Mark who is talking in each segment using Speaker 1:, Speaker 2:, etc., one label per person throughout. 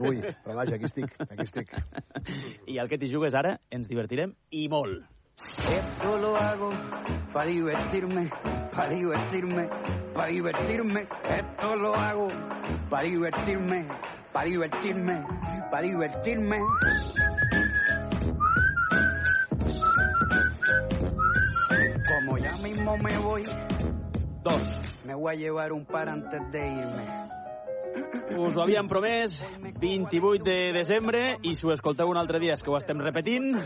Speaker 1: Ui, però vaja, aquí estic, aquí estic.
Speaker 2: I el que t'hi jugues ara ens divertirem i molt.
Speaker 3: Esto lo hago para divertirme, para divertirme, para divertirme. Esto lo hago para divertirme, para divertirme, para divertirme. Como ya mismo me voy,
Speaker 2: Dos.
Speaker 3: me voy a llevar un par antes de irme.
Speaker 2: Us ho havíem promès 28 de desembre i si ho escolteu un altre dia és que ho estem repetint.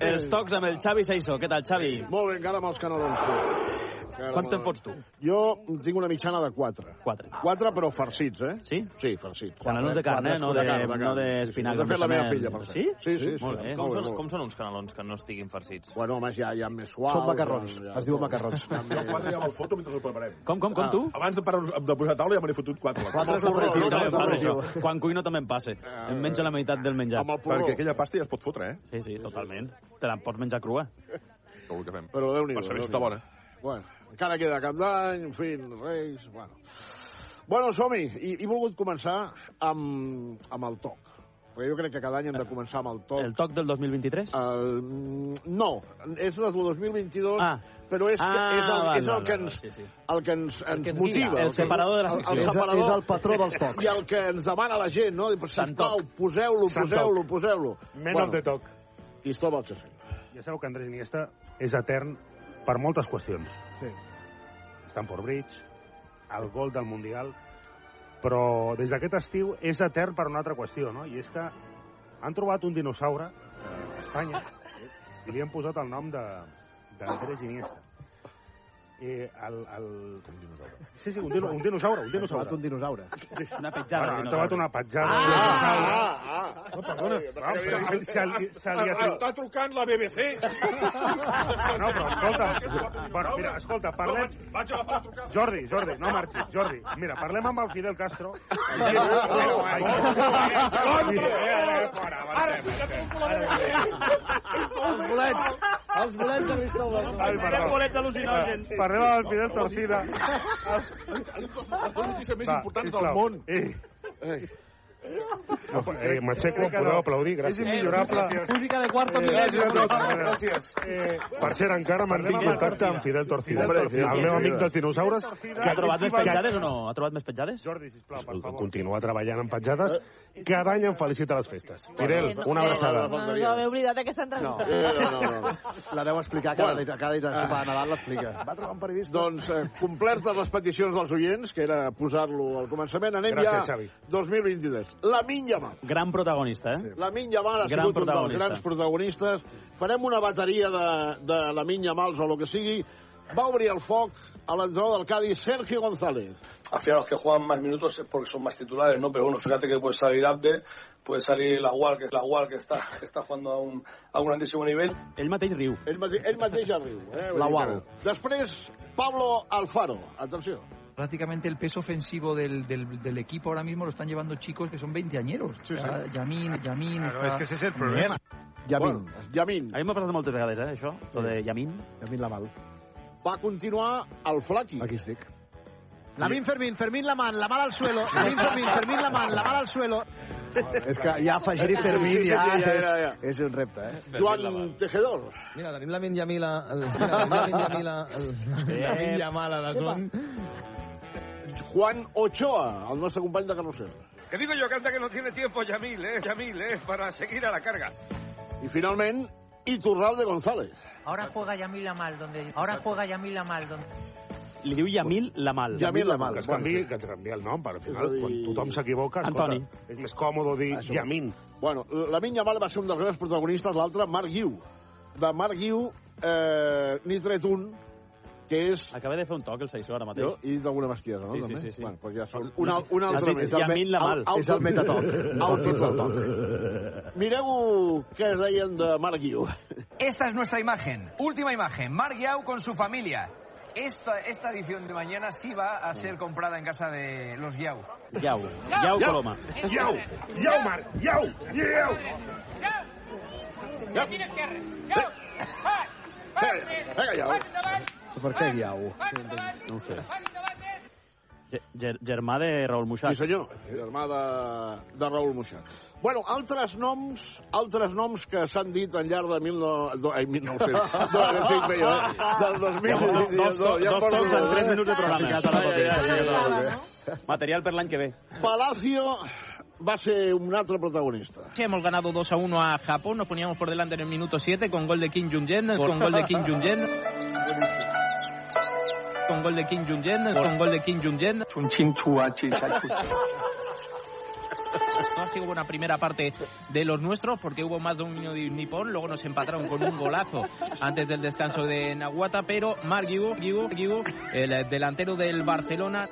Speaker 2: Els tocs amb el Xavi Saissó. Què tal, Xavi?
Speaker 4: Molt bé, encara amb els canelons. tu. Encara
Speaker 2: Quants te'n
Speaker 4: molt bé.
Speaker 2: fots tu?
Speaker 4: Jo tinc una mitjana de 4.
Speaker 2: Quatre.
Speaker 4: 4, però farcits, eh?
Speaker 2: Sí?
Speaker 4: Sí, farcits.
Speaker 2: Canelons de carn, eh? No de- no d'espinacs
Speaker 4: Ho ha fet la
Speaker 2: amb
Speaker 4: meva
Speaker 2: bechamel.
Speaker 4: filla, per cert.
Speaker 2: Sí?
Speaker 4: Sí, sí. sí,
Speaker 5: Molt bé. Com,
Speaker 4: Molt bé,
Speaker 5: són,
Speaker 4: molt
Speaker 5: com
Speaker 4: bé.
Speaker 5: són uns canelons que no estiguin farcits?
Speaker 4: Bueno, home, ja, ja més suaus.
Speaker 1: Són macarrons, es diuen macarrons.
Speaker 6: Jo quatre ja me'l foto mentre el preparem. Ah,
Speaker 2: Com, com, com, tu?
Speaker 6: Abans de, parar, de posar a taula ja me n'he fotut quatre.
Speaker 1: Quatre és
Speaker 4: porró,
Speaker 1: l'aperitiu,
Speaker 4: no,
Speaker 2: També
Speaker 1: quatre és
Speaker 2: em passa
Speaker 1: l'aperitiu.
Speaker 2: això. Quan cuino també em passa. Em menjo la meitat del menjar.
Speaker 4: Eh, Amb el porró.
Speaker 6: Perquè aquella pasta ja es pot fotre, eh?
Speaker 2: Sí, sí, totalment. Te la pots menjar crua.
Speaker 6: Segur que fem.
Speaker 4: Però déu nhi
Speaker 6: Per saber si està bona.
Speaker 4: Bueno, encara queda cap d'any, en fi, reis, bueno. Bueno, som-hi. I, he volgut començar amb, amb el toc. Perquè jo crec que cada any hem de començar amb el toc.
Speaker 2: El toc del 2023?
Speaker 4: El... No, és del 2022,
Speaker 2: Ah.
Speaker 4: però és, que,
Speaker 2: Ah,
Speaker 4: és, el,
Speaker 2: val,
Speaker 4: és el
Speaker 2: val,
Speaker 4: que
Speaker 2: val,
Speaker 4: ens,
Speaker 2: sí, sí.
Speaker 4: el que ens, ens
Speaker 2: que ens guia,
Speaker 4: motiva.
Speaker 2: el
Speaker 4: que-
Speaker 2: separador de la secció.
Speaker 4: El,
Speaker 2: És
Speaker 4: el
Speaker 2: el-
Speaker 4: separador,
Speaker 1: és el patró dels tocs.
Speaker 4: I el que ens demana la gent, no? Diu, però,
Speaker 2: Sant
Speaker 4: sisplau,
Speaker 2: Toc.
Speaker 4: poseu-lo,
Speaker 7: Sant
Speaker 4: poseu-lo, poseu-lo.
Speaker 7: Men bueno. of the talk.
Speaker 4: Cristóbal Chesel.
Speaker 7: Ja sabeu que Andrés Iniesta és etern per moltes qüestions.
Speaker 1: Sí.
Speaker 7: Stamford Bridge, el gol del Mundial, però des d'aquest estiu és etern per una altra qüestió, no? I és que han trobat un dinosaure a Espanya i li han posat el nom de d'Andrés Iniesta. Eh, el, el... Un dinosaure. Sí, sí, un, dino, un dinosaure, un
Speaker 1: Hem trobat
Speaker 7: dinosaure.
Speaker 1: un dinosaure.
Speaker 7: Bueno,
Speaker 2: Una petjada.
Speaker 7: han
Speaker 2: no,
Speaker 7: trobat
Speaker 2: no.
Speaker 7: una petjada.
Speaker 4: Ah,
Speaker 7: d'un dinosaure.
Speaker 4: ah, ah. No, perdona.
Speaker 7: Oh, Vamos, que se li- se li
Speaker 1: Ah,
Speaker 7: ha tret-
Speaker 4: trucant la BBC.
Speaker 7: No, però escolta, bueno, mira, escolta, parlem...
Speaker 4: Vaig agafar la trucada.
Speaker 7: Jordi, Jordi, no marxis, Jordi. Mira, parlem amb el Fidel Castro.
Speaker 1: Els bolets, els bolets de Cristóbal.
Speaker 7: Ai, perdó.
Speaker 2: Bolets al·lucinògens.
Speaker 7: Parlem amb el Fidel Torcida.
Speaker 6: Les dues notícies més
Speaker 7: Va,
Speaker 6: importants del
Speaker 7: sisplau.
Speaker 6: món.
Speaker 7: Ei,
Speaker 4: Ei,
Speaker 7: no, eh, M'aixeco, podeu aplaudir, gràcies. És immillorable.
Speaker 2: Música de quarto
Speaker 7: Gràcies a tots,
Speaker 4: gràcies.
Speaker 7: Eh, per cert, encara mantinc
Speaker 4: Parlem amb
Speaker 7: contacte
Speaker 4: el
Speaker 7: amb Fidel Torcida,
Speaker 4: Hombre, Fidel
Speaker 7: el meu amic
Speaker 4: Torcida.
Speaker 7: dels dinosaures.
Speaker 2: Ha trobat més
Speaker 7: esquiva-
Speaker 2: petjades o no? Ha trobat més petjades?
Speaker 7: Jordi, sisplau, per
Speaker 4: Escolta,
Speaker 7: favor. Continua treballant en petjades. Cada any em felicita les festes. Fidel,
Speaker 8: no,
Speaker 7: una abraçada.
Speaker 8: No, no, no, m'he oblidat aquesta entrevista.
Speaker 4: Eh, no, no, no.
Speaker 1: La deu explicar cada
Speaker 4: Bueno. Ah.
Speaker 1: nit, cada nit que va a Nadal l'explica. Va trobar un periodista.
Speaker 4: Doncs eh, complertes les peticions dels oients, que era posar-lo al començament, anem
Speaker 7: Gràcies,
Speaker 4: ja
Speaker 7: Xavi.
Speaker 4: 2023. La minya mà.
Speaker 2: Gran protagonista, eh?
Speaker 4: La Minya Mal ha
Speaker 2: Gran
Speaker 4: sigut un dels
Speaker 2: protagonista.
Speaker 4: grans protagonistes. Farem una bateria de, de la Minya Mals o el que sigui. Va obrir el foc a l'entrenador del Cádiz, Sergio González.
Speaker 9: al final los que juegan más minutos es porque son más titulares, ¿no? Pero bueno, fíjate que puede salir Abde, puede salir la UAL, que la UAL que está, que está jugando a un, a un grandísimo nivel.
Speaker 2: Ell mateix riu.
Speaker 4: Ell, mate, ell mateix ja riu. Eh? Vull
Speaker 1: La
Speaker 4: dir
Speaker 1: Gual.
Speaker 4: que- Després, Pablo Alfaro. Atenció.
Speaker 10: prácticamente el peso ofensivo del, del, del equipo ahora mismo lo están llevando chicos que son veinteañeros. O sea, Yamin, Yamin está...
Speaker 7: és el problema.
Speaker 1: Yamin,
Speaker 4: Yamin.
Speaker 2: Ah, A mi m'ha passat moltes vegades, eh, això, això de Yamin.
Speaker 1: Yamin Lamal.
Speaker 4: Va continuar el Flaqui.
Speaker 1: Aquí estic.
Speaker 3: Lamin Fermín, Fermín la man, la mala al suelo. Lamin Fermín, Fermín la man, la mala al suelo.
Speaker 1: És que ja afegir Fermín
Speaker 4: Sí, sí,
Speaker 1: ja,
Speaker 4: sí, ja,
Speaker 1: és,
Speaker 4: ja, ja.
Speaker 1: és un repte, eh?
Speaker 4: Joan Tejedor.
Speaker 10: Mira, tenim la Menja Mila, el, la Menja Mila, el,
Speaker 2: la Menja
Speaker 10: Mala de Zon.
Speaker 4: Juan Ochoa, el nostre company de carrusel.
Speaker 9: Que digo yo, canta que no tiene tiempo Yamil, ¿eh? Yamil, ¿eh? Para seguir a la carga.
Speaker 4: I finalment, Iturralde González.
Speaker 10: Ahora juega Yamila mal, donde... Ahora juega Yamila mal, donde...
Speaker 2: Li diu Yamil la mal.
Speaker 4: Yamin Lamal.
Speaker 7: Que es canvi, que ens canvia el nom, però al final,
Speaker 4: És a dir-
Speaker 7: quan tothom s'equivoca, escolta,
Speaker 2: Antoni.
Speaker 7: és més còmode dir
Speaker 4: Això.
Speaker 7: Yamin.
Speaker 4: Bueno, la Minya Mal va ser un dels grans protagonistes, l'altre, Marc Guiu. De Marc Guiu, eh, n'hi he tret un, que és...
Speaker 2: Acaba de fer un toc el Saissó ara mateix.
Speaker 4: Jo he dit alguna bestiesa, no?
Speaker 2: Sí, sí,
Speaker 4: també?
Speaker 2: sí, sí.
Speaker 4: Bueno, doncs ja són un, al, un
Speaker 2: Has
Speaker 4: altre
Speaker 2: dit
Speaker 4: més.
Speaker 2: Yamin Lamal.
Speaker 4: Au-
Speaker 1: És el metatoc.
Speaker 4: Autotoc. Mireu què deien de Marc Guiu.
Speaker 10: Esta es nuestra imagen, última imagen, Marc Yao con su familia. Esta, esta edición de mañana sí va a ser comprada en casa de los Yao.
Speaker 2: Yau. Yau Coloma.
Speaker 7: Iau! Iau, Marc! Iau! Iau!
Speaker 4: Vinga, ja.
Speaker 1: Per què guiau?
Speaker 2: No ho sé. Ge- ger- Germà de Raül Muixac.
Speaker 4: Sí, senyor, germà de, de Raül Muixac. Bueno, altres noms, altres noms que s'han dit al llarg de mil no, do, ai, 1900, no, no, estic bé, jo, eh? del 2000.
Speaker 2: Ja porto dos to- dos
Speaker 4: porto-
Speaker 2: tocs en tres minuts de programa.
Speaker 4: Ficat a la paper, ficat a la paper.
Speaker 2: Material per l'any que ve.
Speaker 4: Palacio va ser un altre protagonista.
Speaker 11: Que hemos ganado 2 a 1 a Japón, nos poníamos por delante en el minuto 7 con gol de Kim Jong-jen, con gol de Kim Jong-jen. Con gol de Kim Jong-jen, con gol de Kim Jong-jen. No ha sido buena primera parte de los nuestros porque hubo más dominio de Nippon, luego nos empataron con un golazo antes del descanso de Nahuata, pero Marc Guigo, Guigo, Guigo, el delantero del Barcelona,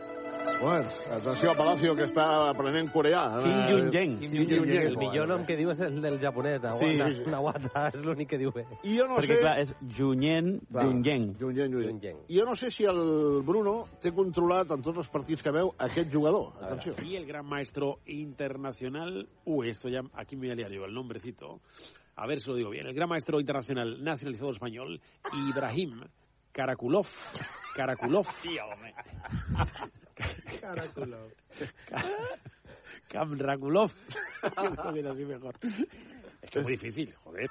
Speaker 4: Bueno, atenció a Palacio, que està aprenent coreà.
Speaker 12: Kim Jong-jen.
Speaker 4: Kim Jong-jen.
Speaker 12: El millor nom que diu és el del japonès.
Speaker 4: Sí,
Speaker 12: Aguanta,
Speaker 4: sí,
Speaker 12: sí,
Speaker 4: sí.
Speaker 12: Aguanta, és l'únic que diu bé.
Speaker 4: I jo no
Speaker 2: Perquè,
Speaker 4: sé...
Speaker 2: clar, és Junyen,
Speaker 4: Clar.
Speaker 2: Junyeng.
Speaker 4: Junyent, Junyent. Jo no sé si el Bruno té controlat en tots els partits que veu aquest jugador. Atenció.
Speaker 13: Y el gran maestro internacional, uy, esto ya aquí me voy a liar yo, el nombrecito. A ver si lo digo bien. El gran maestro internacional nacionalizado español, Ibrahim Karakulov. Karakulov.
Speaker 6: Caraculo.
Speaker 13: Kamrakulov. Joder, así mejor. Es que es muy difícil, joder.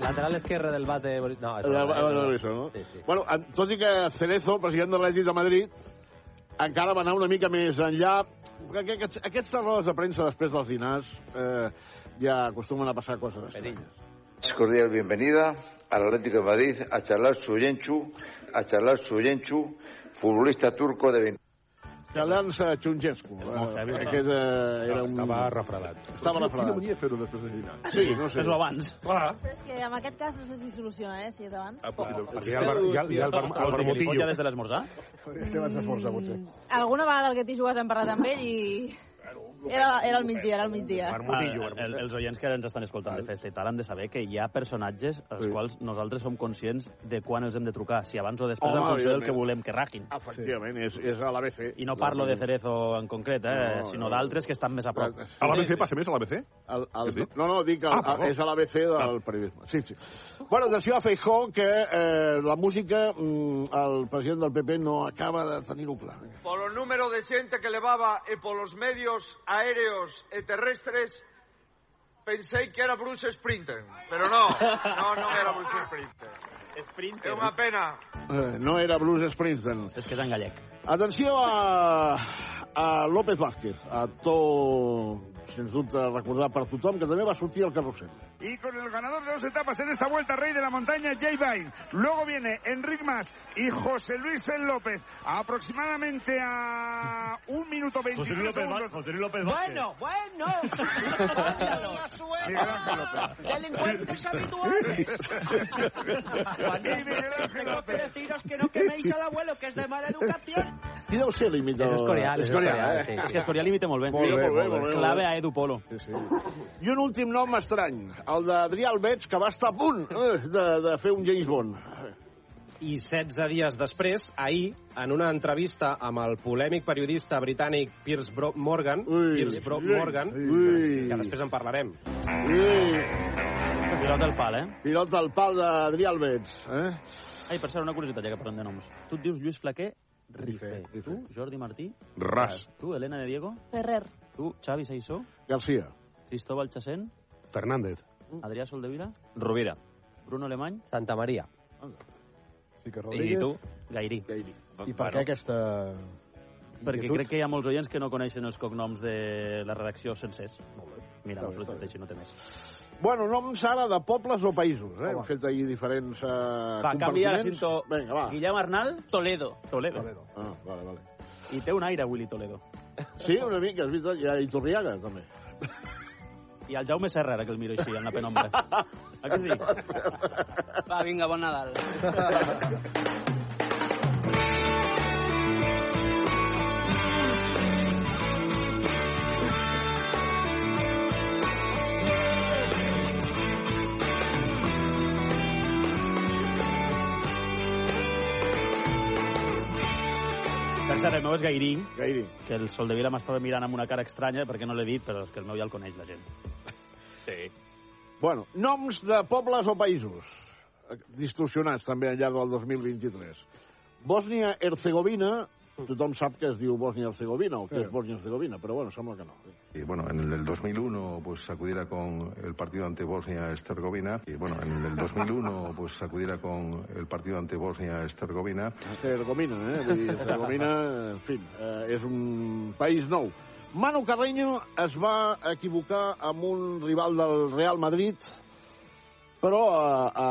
Speaker 12: Lateral esquerre del bate... de Bori- No,
Speaker 10: Ah,
Speaker 12: és
Speaker 4: La- la- la-
Speaker 12: és
Speaker 4: la- Ah, no? Bueno, ah, en- tot i que Cerezo, el president de l'Atlètic de Madrid, encara va anar una mica més enllà. Perquè Aquests, aquestes rodes de premsa després dels dinars eh, ja acostumen a passar coses estranyes.
Speaker 10: Cordial bienvenida al Atlético de Madrid a charlar su Yenchu, a charlar su Yenchu, futbolista turco de 20.
Speaker 4: Xalans a Chungescu.
Speaker 10: molt heavy, no?
Speaker 4: Aquest eh, era un...
Speaker 10: Estava
Speaker 4: refredat. Estava
Speaker 6: Quina
Speaker 4: refredat.
Speaker 6: mania fer-ho després de dinar.
Speaker 4: Sí, no sé.
Speaker 6: Fes-ho
Speaker 2: abans.
Speaker 7: Clar.
Speaker 8: Però és que en aquest cas no sé si soluciona, eh, si és abans.
Speaker 4: Ah, pues
Speaker 7: Perquè hi ha el bar- hi ha- hi ha el bar- el
Speaker 2: Vols dir que li
Speaker 7: vermutillo.
Speaker 2: fot ja des de l'esmorzar?
Speaker 14: Este abans d'esmorzar, potser.
Speaker 8: Alguna vegada el que t'hi jugues hem parlat amb ell i... Era, era el migdia, era el migdia.
Speaker 2: Ah, el,
Speaker 4: eh?
Speaker 2: els oients que ens estan escoltant de festa i tal han de saber que hi ha personatges als quals nosaltres som conscients de quan els hem de trucar, si abans o després,
Speaker 4: Home,
Speaker 2: en funció del que
Speaker 4: evidentment.
Speaker 2: volem que ragin.
Speaker 4: Efectivament, és, és a l'ABC.
Speaker 2: I no parlo de Cerezo en concret, eh,
Speaker 4: No,
Speaker 2: sinó
Speaker 4: no.
Speaker 2: d'altres que estan més a prop.
Speaker 4: A l'ABC
Speaker 6: passa més a l'ABC?
Speaker 4: El, el, eh? no, no, dic, el,
Speaker 2: Ah, perdó.
Speaker 4: ah, és a l'ABC del periodisme. Sí, sí. Bueno, atenció a Feijó, que eh, la música, mm, el president del PP no acaba de tenir-ho clar.
Speaker 15: Por o número de xente que levaba e polos medios aéreos e terrestres, pensei que era Bruce Sprinten, pero non, non, non era Bruce Sprinten.
Speaker 2: Sprinten.
Speaker 15: É unha pena,
Speaker 4: Eh, no era Bruce Springsteen.
Speaker 2: És que és en gallec.
Speaker 4: Atenció a, a López Vázquez, actor, sens dubte, recordat per tothom, que també va sortir al carrusel.
Speaker 16: Y con el ganador de dos etapas en esta vuelta, Rey de la Montaña, Jay Vine. Luego viene Enric Mas y José Luis Fel López. Aproximadamente a un minuto 23
Speaker 1: José Luis López
Speaker 16: segundos.
Speaker 1: Vaz- José Luis López Vázquez. Bueno,
Speaker 16: bueno.
Speaker 1: Delincuentes
Speaker 16: Y Miguel Ángel López.
Speaker 1: Deciros que no queméis al abuelo, que es de mala educación.
Speaker 4: Qui deu ser l'imita?
Speaker 2: És Escorial, és Escorial, eh? És que Escorial imita molt bé.
Speaker 4: Molt bé,
Speaker 2: Imita
Speaker 4: molt bé, molt bé.
Speaker 2: Clave a Edu Polo.
Speaker 4: Sí, sí. I un últim nom estrany, el d'Adrià Albeig, que va estar a punt eh, de, de fer un James Bond.
Speaker 12: I 16 dies després, ahir, en una entrevista amb el polèmic periodista britànic Piers Bro Morgan, Piers Bro
Speaker 4: ui,
Speaker 12: Morgan, que després en parlarem.
Speaker 2: Pilota al pal, eh?
Speaker 4: Pilota al pal d'Adrià Albeig, eh?
Speaker 2: Ai, per cert, una curiositat, ja que parlem de noms. Tu et dius Lluís Flaquer Rifé. Tu, Jordi Martí?
Speaker 4: Ras.
Speaker 2: Tu, Elena de Diego?
Speaker 8: Ferrer.
Speaker 2: Tu, Xavi Saissó?
Speaker 4: García.
Speaker 2: Cristóbal Chasén?
Speaker 7: Fernández.
Speaker 2: Adrià Soldevila?
Speaker 12: Rovira.
Speaker 2: Bruno Alemany?
Speaker 12: Santa Maria.
Speaker 14: Sí que Rodríguez.
Speaker 2: Gairí.
Speaker 4: Gairí.
Speaker 14: I per què aquesta...
Speaker 2: Doncs Perquè
Speaker 14: inquietud?
Speaker 2: crec que hi ha molts oients que no coneixen els cognoms de la redacció sencers. Mira, us ho tot així, no té més.
Speaker 4: Bueno, noms ara de pobles o països, eh? Hem fet ahir diferents eh,
Speaker 2: Va, canvia la
Speaker 4: compartiments.
Speaker 2: cinto.
Speaker 4: Vinga, va.
Speaker 2: Guillem Arnal, Toledo. Toledo.
Speaker 4: Ah, vale, vale.
Speaker 2: I té un aire, Willy Toledo.
Speaker 4: Sí, una mica, és veritat. I a Iturriaga, també.
Speaker 2: I el Jaume Serra, ara que el miro així, en la penombra. A que sí?
Speaker 17: Va, vinga, bon Nadal.
Speaker 2: Per cert, el meu és Gairí,
Speaker 4: Gairí.
Speaker 2: que el Soldevila m'estava mirant amb una cara estranya perquè no l'he dit, però és que el meu ja el coneix la gent.
Speaker 4: Sí. Bueno, noms de pobles o països eh, distorsionats també al llarg del 2023. Bòsnia-Herzegovina tothom sap que es diu Bòsnia-Herzegovina o que
Speaker 15: Sí.
Speaker 4: és Bòsnia-Herzegovina, però bueno, sembla que no.
Speaker 15: Y bueno, en el del 2001 pues acudiera con el partido ante Bosnia-Herzegovina. Y bueno, en el del 2001 pues acudiera con el partido ante Bosnia-Herzegovina.
Speaker 4: Herzegovina, eh? Vull dir, Herzegovina, en fi, eh, és un país nou. Manu Carreño es va equivocar amb un rival del Real Madrid, però a, a,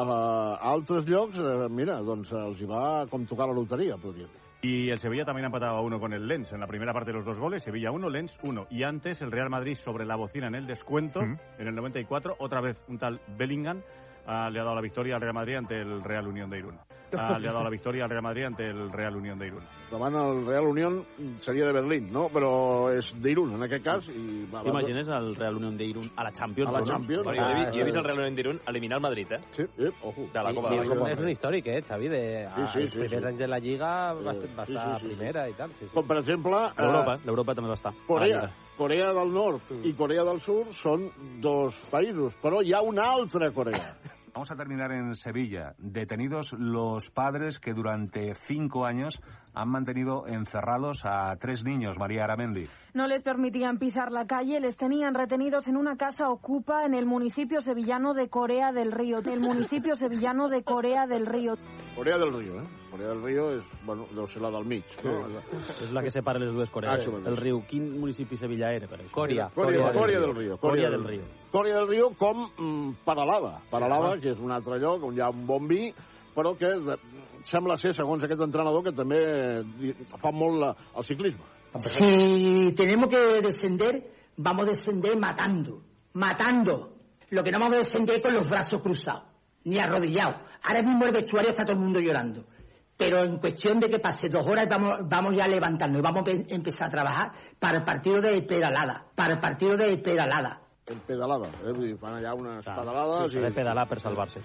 Speaker 4: a altres llocs, eh, mira, doncs els hi va com tocar la loteria, podríem dir.
Speaker 18: Y el Sevilla también ha empatado a uno con el Lens. En la primera parte de los dos goles, Sevilla 1, Lens 1. Y antes, el Real Madrid sobre la bocina en el descuento, en el 94. Otra vez un tal Bellingham ah, le ha dado la victoria al Real Madrid ante el Real Unión de Irún. Ah, le ha dado la victoria al Real Madrid ante el Real Unión de Irún.
Speaker 4: Davant el Real Unión seria de Berlín, no? Però és d'Irun, en aquest cas. I va, va,
Speaker 2: T'imagines el Real Unión de Irún a la Champions?
Speaker 4: A la
Speaker 2: no?
Speaker 4: Champions.
Speaker 1: Bueno, jo, he, vi- jo he vist el Real Unión d'Irún eliminar el Madrid, eh?
Speaker 4: Sí, eh, ojo.
Speaker 1: De la Copa de la
Speaker 11: És un
Speaker 1: Lliga.
Speaker 11: històric, eh, Xavi? De,
Speaker 1: Sí, sí,
Speaker 11: els
Speaker 1: sí,
Speaker 11: primers
Speaker 1: sí.
Speaker 11: anys de la Lliga va, ser- va
Speaker 4: Sí, sí,
Speaker 11: estar
Speaker 4: sí, sí.
Speaker 11: primera i tal. Sí, sí.
Speaker 4: Com, per exemple... eh,
Speaker 11: L'Europa,
Speaker 2: L'Europa també va estar.
Speaker 4: Corea, Corea del Nord i Corea del Sur són dos països, però hi ha una altra Corea.
Speaker 19: Vamos a terminar en Sevilla. Detenidos los padres que durante cinco años han mantenido encerrados a tres niños, María Aramendi.
Speaker 20: No les permitían pisar la calle, les tenían retenidos en una casa ocupa en el municipio sevillano de Corea del Río. El municipio sevillano de Corea del Río.
Speaker 4: Corea del Río, eh? Corea del Río és, bueno, deu ser la del mig, no?
Speaker 2: És la que separa les dues Corees.
Speaker 4: Ah, sí, bueno.
Speaker 2: el riu, quin municipi sevillà era? Per exemple?
Speaker 4: Corea, Corea, Corea del Río.
Speaker 2: Corea del Río.
Speaker 4: Corea del Río com mm, Peralada. Peralada, que és un altre lloc on hi ha un bon vi, però que de, sembla ser, segons aquest entrenador, que també li- fa molt la, el ciclisme.
Speaker 8: Si tenemos que descender, vamos a descender matando, matando. Lo que no vamos a descender con los brazos cruzados, ni arrodillados. Ahora mismo el vestuario está todo el mundo llorando. Pero en cuestión de que pase dos horas vamos, vamos ya a levantarnos y vamos a pe- empezar a trabajar para el partido de Peralada, para el partido de Peralada.
Speaker 4: El pedalada, eh? Vull dir, fan allà unes pedalades...
Speaker 2: Sí, s'ha de pedalar per salvar-se.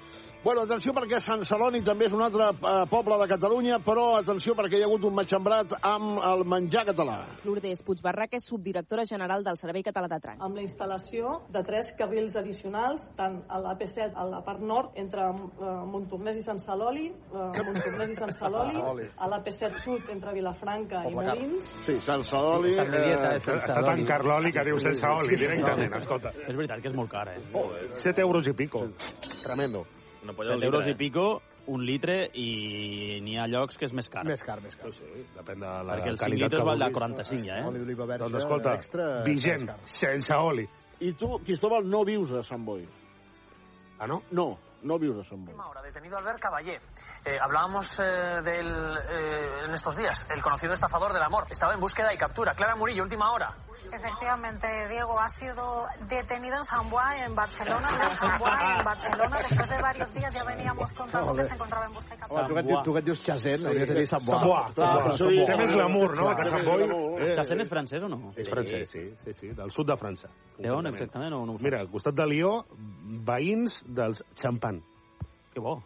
Speaker 4: Bueno, atenció perquè Sant Celoni també és un altre eh, poble de Catalunya, però atenció perquè hi ha hagut un matxembrat amb el menjar català.
Speaker 21: Lourdes Puigbarrac és subdirectora general del Servei Català de Trànsit.
Speaker 22: amb la instal·lació de tres carrils addicionals, tant a l'AP7, a la part nord, entre eh, Montornès i Sant Celoli, eh, Montornès i Sant Celoli, a l'AP7 sud, entre Vilafranca i
Speaker 4: Poblecar.
Speaker 22: Molins,
Speaker 4: Sí, Sant Celoni...
Speaker 7: Eh, està- està tan car l'oli que diu sense oli, directament, escolta.
Speaker 2: És veritat que és molt car, eh?
Speaker 7: Joder. 7 euros i pico.
Speaker 2: Tremendo.
Speaker 1: Una polla
Speaker 2: 7
Speaker 1: al
Speaker 2: euros
Speaker 1: litre,
Speaker 2: i pico, un litre, i n'hi ha llocs que és més car. Més
Speaker 23: car, més car.
Speaker 2: Sí, depèn de
Speaker 7: la
Speaker 2: Perquè el
Speaker 7: qualitat
Speaker 2: 5
Speaker 7: que
Speaker 2: litres val de
Speaker 7: vulguis.
Speaker 2: 45, ja, eh?
Speaker 23: Oli d'oliva verge,
Speaker 7: Doncs escolta,
Speaker 23: extra,
Speaker 7: vigent,
Speaker 23: més
Speaker 7: sense oli.
Speaker 4: I tu, Cristóbal, no vius a Sant Boi.
Speaker 7: Ah, no?
Speaker 4: No, no vius a Sant Boi.
Speaker 24: Ahora, detenido Albert Caballé. Eh, hablábamos eh, del, eh, en estos días, el conocido estafador del amor. Estaba en búsqueda y captura. Clara Murillo, última hora.
Speaker 25: Efectivamente, Diego ha sido detenido en San Juan, en Barcelona, en San Juan, en Barcelona. Después de varios días ya veníamos contando que se encontraba en busca de
Speaker 23: Home, tu, que et dius- tu que et dius Chazén, hauria de dir Sant Boa.
Speaker 7: Ah, pues
Speaker 23: Eh.
Speaker 2: Chassain és francès o no?
Speaker 7: És francès, sí, sí, sí, del sud de França.
Speaker 2: De on exactament? No, no ho sé.
Speaker 7: Mira, al costat de Lió, veïns dels Champan.
Speaker 2: Que bo.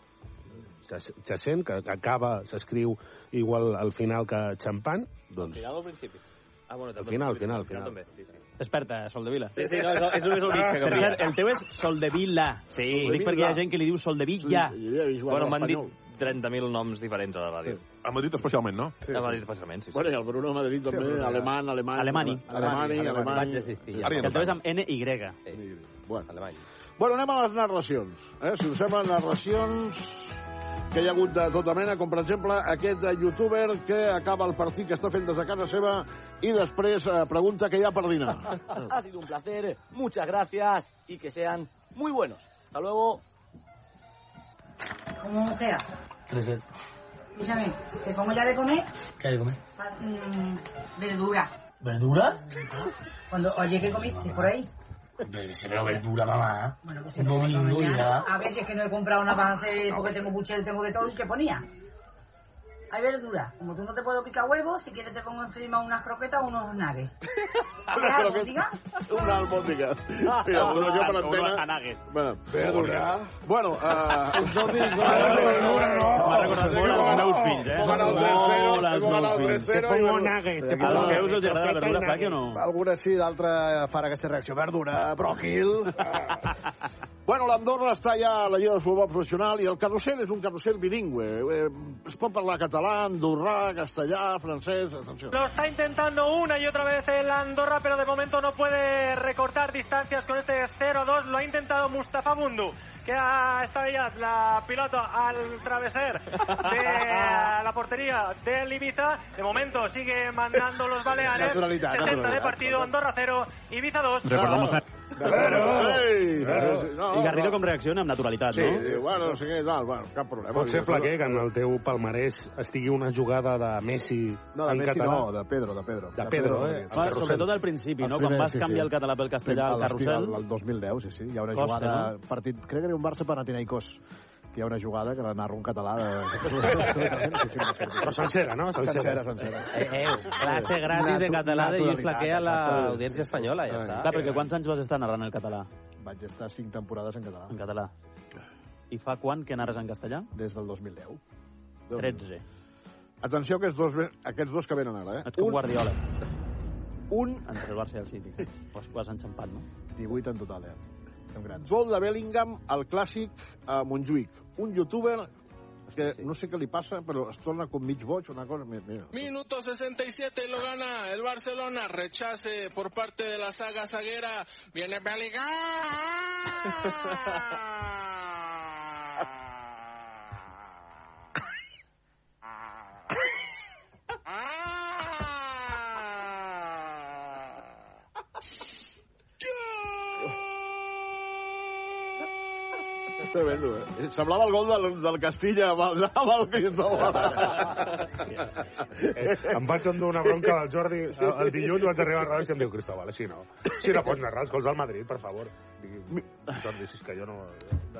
Speaker 7: Jacent, que, que acaba, s'escriu igual al final que Champan,
Speaker 1: Al
Speaker 7: doncs...
Speaker 1: final o al principi? Ah, bueno,
Speaker 7: Al final, al final, al final.
Speaker 1: també. Sí, sí.
Speaker 2: Desperta, Sol de Vila.
Speaker 1: Sí, sí, no, és- és només el mitjà que
Speaker 2: Per
Speaker 1: brilla.
Speaker 2: cert, el teu és Sol de Vila. Sí. Ho dic perquè hi ha gent que li diu Sol de Villa.
Speaker 1: Bueno, m'han dit 30.000 noms diferents a la ràdio.
Speaker 26: A Madrid especialment, no?
Speaker 1: Sí, a Madrid especialment, sí. sí.
Speaker 4: Bueno, i el Bruno a Madrid també,
Speaker 1: Sí, Bruno,
Speaker 4: alemany, alemany...
Speaker 2: Alemany.
Speaker 4: Alemany, alemany.
Speaker 2: Vaig desistir, ja.
Speaker 4: Ara ja no
Speaker 2: El teu és amb N-Y.
Speaker 4: Bueno. Bueno, anem a les narracions. Eh? Si us sembla, narracions que hi ha hagut de tota mena, com per exemple aquest de youtuber que acaba el partit que està fent des de casa seva i després eh, pregunta què hi ha per dinar.
Speaker 27: ha sido un placer, muchas gracias y que sean muy buenos. Hasta luego.
Speaker 28: ¿Cómo queda? Escúchame, te pongo ya de comer
Speaker 27: ¿Qué hay que comer?
Speaker 28: pa- mm, verdura.
Speaker 27: ¿Verdura?
Speaker 28: Cuando, oye, ¿qué comiste por ahí?
Speaker 27: Se veo verdura, mamá.
Speaker 28: Bueno, pues
Speaker 27: Un
Speaker 28: no me
Speaker 27: domingo
Speaker 28: comí
Speaker 27: ya.
Speaker 28: nada. A veces que no he comprado una para hacer porque tengo puchero, tengo de todo y que ponía. Hay verdura. Como tú no te puedo picar huevos, si quieres te pongo encima unas croquetas o unos nuggets. ¿Quieres
Speaker 4: croqueta.
Speaker 28: albóndiga?
Speaker 4: Una albòndiga. Mira, una opció per antena. Bueno, verdura. Bueno, eh, us heu dit...
Speaker 2: M'ha recordat molt els meus fills, eh? Molt els meus fills. Els que us els agrada la verdura, clar que no?
Speaker 23: Alguna sí, d'altra farà aquesta reacció. Verdura, bròquil...
Speaker 4: Bueno, l'Andorra està ja a la Lliga de Futbol Professional i el carrusel és un carrusel bilingüe. Eh, es pot parlar català, andorrà, castellà, francès... Atenció.
Speaker 3: Lo está intentando una y otra vez el Andorra, pero de momento no puede recortar distancias con este 0-2. Lo ha intentado Mustafa Bundu, que ha estado la pilota al traveser de la portería del Ibiza. De momento sigue mandando los baleares.
Speaker 4: Naturalidad,
Speaker 3: 60 de
Speaker 4: naturalidad.
Speaker 3: partido, Andorra 0, Ibiza 2.
Speaker 2: Recordamos a...
Speaker 4: Ei,
Speaker 2: I Garrido com reacciona amb naturalitat,
Speaker 4: Sí,
Speaker 2: no?
Speaker 4: diu, bueno, no sé què, tal, bueno, cap problema.
Speaker 7: Pot ser, Plaquer, que en el teu palmarès estigui una jugada de Messi
Speaker 4: No, de
Speaker 7: en
Speaker 4: Messi
Speaker 7: català.
Speaker 4: no, de Pedro, de Pedro.
Speaker 7: De Pedro, eh?
Speaker 2: Va, sobretot al principi, no? Quan vas canviar el català pel castellà al carrusel...
Speaker 1: El 2010, sí, sí. Hi ha una
Speaker 2: Costa,
Speaker 1: jugada...
Speaker 2: no?
Speaker 1: Partit, crec que era un Barça Panathinaikos que hi ha una jugada que la narra un català de...
Speaker 7: Però sencera, no?
Speaker 1: Sencera, sencera.
Speaker 29: Eh, clase gratis de català de Lluís Plaquer a l'audiència espanyola, ja està.
Speaker 2: Clar, perquè quants anys vas estar narrant el català?
Speaker 1: Vaig estar cinc temporades en català.
Speaker 2: En català. I fa quan que narres en castellà?
Speaker 1: Des del 2010.
Speaker 2: 13.
Speaker 4: Atenció a aquests dos, ve- aquests dos que venen ara, eh?
Speaker 2: Et com Guardiola.
Speaker 4: Un...
Speaker 2: Entre el Barça i el City. Ho has, ho has enxampat, no?
Speaker 1: 18 en total, eh? Som grans.
Speaker 4: Gol de Bellingham al clàssic a Montjuïc. Un youtuber que no sé què li passa, però es torna com mig boig, una cosa... Mira, mira.
Speaker 8: Minuto 67 lo gana el Barcelona. Rechace por parte de la saga zaguera. Viene Bellingham.
Speaker 4: Tremendo, eh? Semblava el gol del, del Castilla amb el, amb el Cristóbal.
Speaker 7: Eh, em vaig endur una bronca del Jordi el, el dilluns, vaig arribar a la redacció i em diu, Cristóbal, així no. Si no pots narrar els gols del Madrid, per favor. Digui, Jordi, si és que jo no...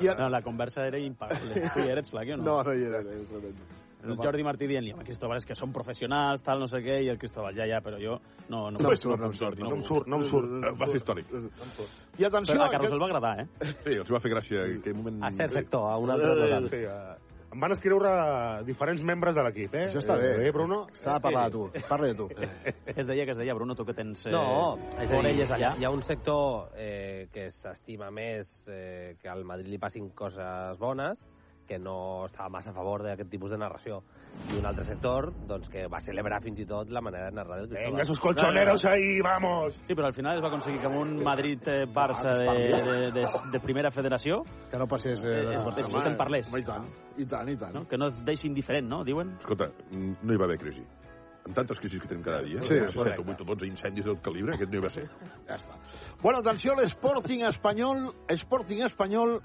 Speaker 2: No, la conversa era impagable. Tu hi eres, Plaque, o no?
Speaker 4: No, no hi era. era tremendo.
Speaker 2: El Jordi Martí dient-li, home, Cristóbal, és que són professionals, tal, no sé què, i el Cristóbal, ja, ja, però jo no... No,
Speaker 4: No em surt,
Speaker 2: puc,
Speaker 4: no em surt,
Speaker 2: Jordi,
Speaker 4: no em
Speaker 2: puc.
Speaker 4: surt, no em surt. Eh, No em
Speaker 6: Va ser
Speaker 4: surt.
Speaker 6: Eh, històric.
Speaker 4: I atenció,
Speaker 2: Però a
Speaker 4: aquest-
Speaker 2: Carlos el va agradar, eh?
Speaker 6: Sí, els va fer gràcia aquell moment...
Speaker 1: Mm.
Speaker 7: A cert
Speaker 6: sector,
Speaker 7: a
Speaker 6: un altre no tant.
Speaker 7: Sí, eh, em van escriure diferents membres de l'equip, eh?
Speaker 1: Això està bé.
Speaker 7: Eh, Bruno?
Speaker 1: S'ha de parlar de tu. Parla de tu.
Speaker 2: Es deia que es deia, Bruno, tu que tens... eh,
Speaker 29: No, és a dir,
Speaker 2: orelles
Speaker 29: hi ha,
Speaker 2: allà.
Speaker 29: hi ha un sector eh, que s'estima més eh, que al Madrid li passin coses bones, que no estava massa a favor d'aquest tipus de narració. I un altre sector, doncs, que va celebrar fins i tot la manera de narrar del Cristóbal.
Speaker 7: Venga, esos colchoneros ahí, vamos!
Speaker 2: Sí, però al final es va aconseguir que amb un Madrid-Barça de, de, eh, de, de primera federació...
Speaker 1: Que no passés...
Speaker 2: Eh, es,
Speaker 6: home,
Speaker 2: es, se'n parlés.
Speaker 4: I tant, i tant, i tant.
Speaker 2: No? Que no es deixi indiferent, no? Diuen.
Speaker 6: Escolta, mm, no hi va haver crisi. Amb tantes crisis que tenim cada dia,
Speaker 4: Sí,
Speaker 6: sí, 7
Speaker 4: correcte.
Speaker 6: o 8 o 12 incendis del calibre, aquest no hi va ser.
Speaker 4: Ja està. Bueno, atenció, l'Sporting espanyol, Sporting espanyol,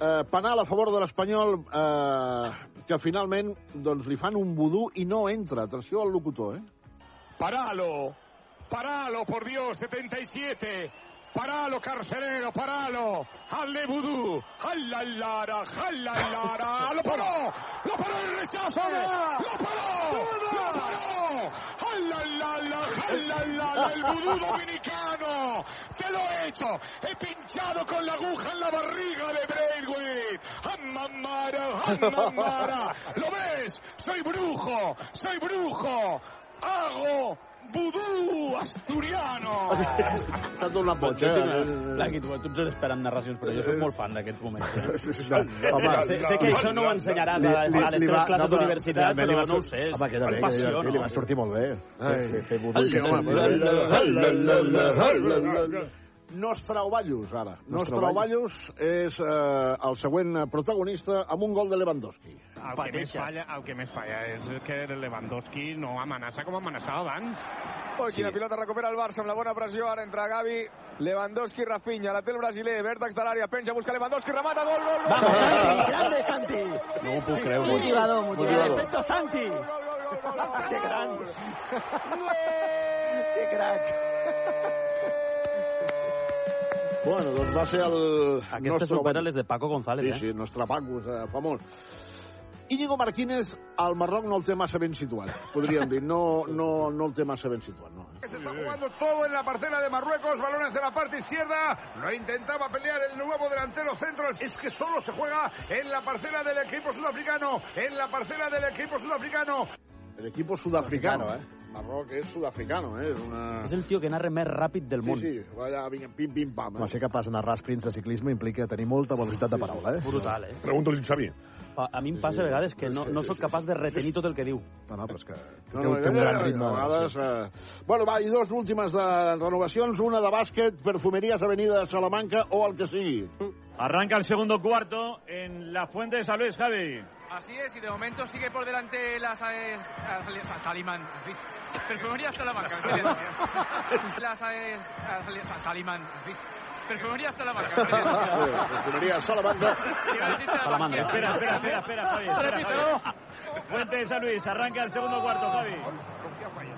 Speaker 4: eh, penal a favor de l'Espanyol, eh, que finalment doncs, li fan un vudú i no entra. Atenció al locutor, eh?
Speaker 9: Paralo, paralo, por Dios, 77. Paralo, carcelero, paralo. Alle vudú, jallalara, jallalara. Lo paró, lo paró el rechazo. Lo paró, lo paró. Jalalala, jalalala, el vudú dominicano. Te lo he hecho. He pinchado con la aguja en la barriga de Braithwaite. Amamara, amamara. ¿Lo ves? Soy brujo, soy brujo. Hago vudú asturiano.
Speaker 4: T'ha donat boig, eh?
Speaker 2: Clar, aquí tu, tu ens esperant narracions, però jo sóc molt fan d'aquests moments. Eh?
Speaker 4: home,
Speaker 2: sé, sé que això no ho ensenyaràs a,
Speaker 1: Li- li-
Speaker 2: a les
Speaker 1: li
Speaker 2: teves
Speaker 1: va- no,
Speaker 2: classes
Speaker 1: però-
Speaker 2: d'universitat,
Speaker 1: realment li
Speaker 2: però
Speaker 1: va
Speaker 2: no ho
Speaker 1: sur-
Speaker 2: sé,
Speaker 1: Home,
Speaker 2: és
Speaker 1: que també, que
Speaker 2: passió,
Speaker 1: li, li va sortir molt bé. Ai, fer, fer vudú i que
Speaker 4: Nostrovallos, ara. Nostrovallos és eh, el següent protagonista amb un gol de Lewandowski.
Speaker 10: El que, més falla, el que més falla és que Lewandowski no amenaça com amenaçava abans.
Speaker 16: Oi, quina pilota recupera el Barça amb la bona pressió. Ara entra Gavi, Lewandowski, Rafinha, la té el brasiler, vèrtex de l'àrea, penja, busca Lewandowski, remata, gol, gol, gol!
Speaker 30: Santi, grande Santi.
Speaker 4: No ho puc
Speaker 30: creure. Motivador, motivador. Perfecto, Santi. Qué gran. Qué crack.
Speaker 4: Bueno, doncs va ser el...
Speaker 2: Aquesta supera les de Paco González,
Speaker 4: Sí,
Speaker 2: eh?
Speaker 4: sí, el nostre Paco, eh, famós. Íñigo Martínez al Marroc no el té massa ben situat, podríem dir. No, no, no el té massa ben situat, no.
Speaker 16: Que se está jugando todo en la parcela de Marruecos, balones de la parte izquierda, lo intentaba pelear el nuevo delantero centro, es que solo se juega en la parcela del equipo sudafricano, en la parcela del equipo sudafricano.
Speaker 4: El equipo sudafricano, eh? Marroc és sud-africano, eh? És una...
Speaker 2: És el tio que narra més ràpid del
Speaker 4: Sí,
Speaker 2: món.
Speaker 4: sí, va allà, vinga, pim, pim, pam.
Speaker 31: No, ser capaç de narrar sprints de ciclisme implica tenir molta velocitat de paraula, eh?
Speaker 2: Brutal, eh?
Speaker 31: Pregunto-li a Xavi.
Speaker 2: A, a mi em passa a vegades que no, no sóc capaç de retenir tot el que diu.
Speaker 31: No, no, però és que
Speaker 4: No, no, eh, eh, A vegades, eh... Bueno, va, i dos últimes de renovacions. Una de bàsquet, perfumerías Avenida de Salamanca o el que sigui.
Speaker 32: Arranca el segundo cuarto en la Fuente de San Luis, Javi.
Speaker 11: Así es, y de momento sigue por delante las eh, sal- Salimán. Perfumería Salamanca. ¿qué le decías? Las eh, sal- Salimán. Perfumería Salamanca. ¿qué le decías?
Speaker 4: Perfumerías Salamanca.
Speaker 32: Salamanca. Espera, espera, espera, espera, Javi. espera, Javi. Fuente de San Luis, arranca el segundo cuarto, Javi.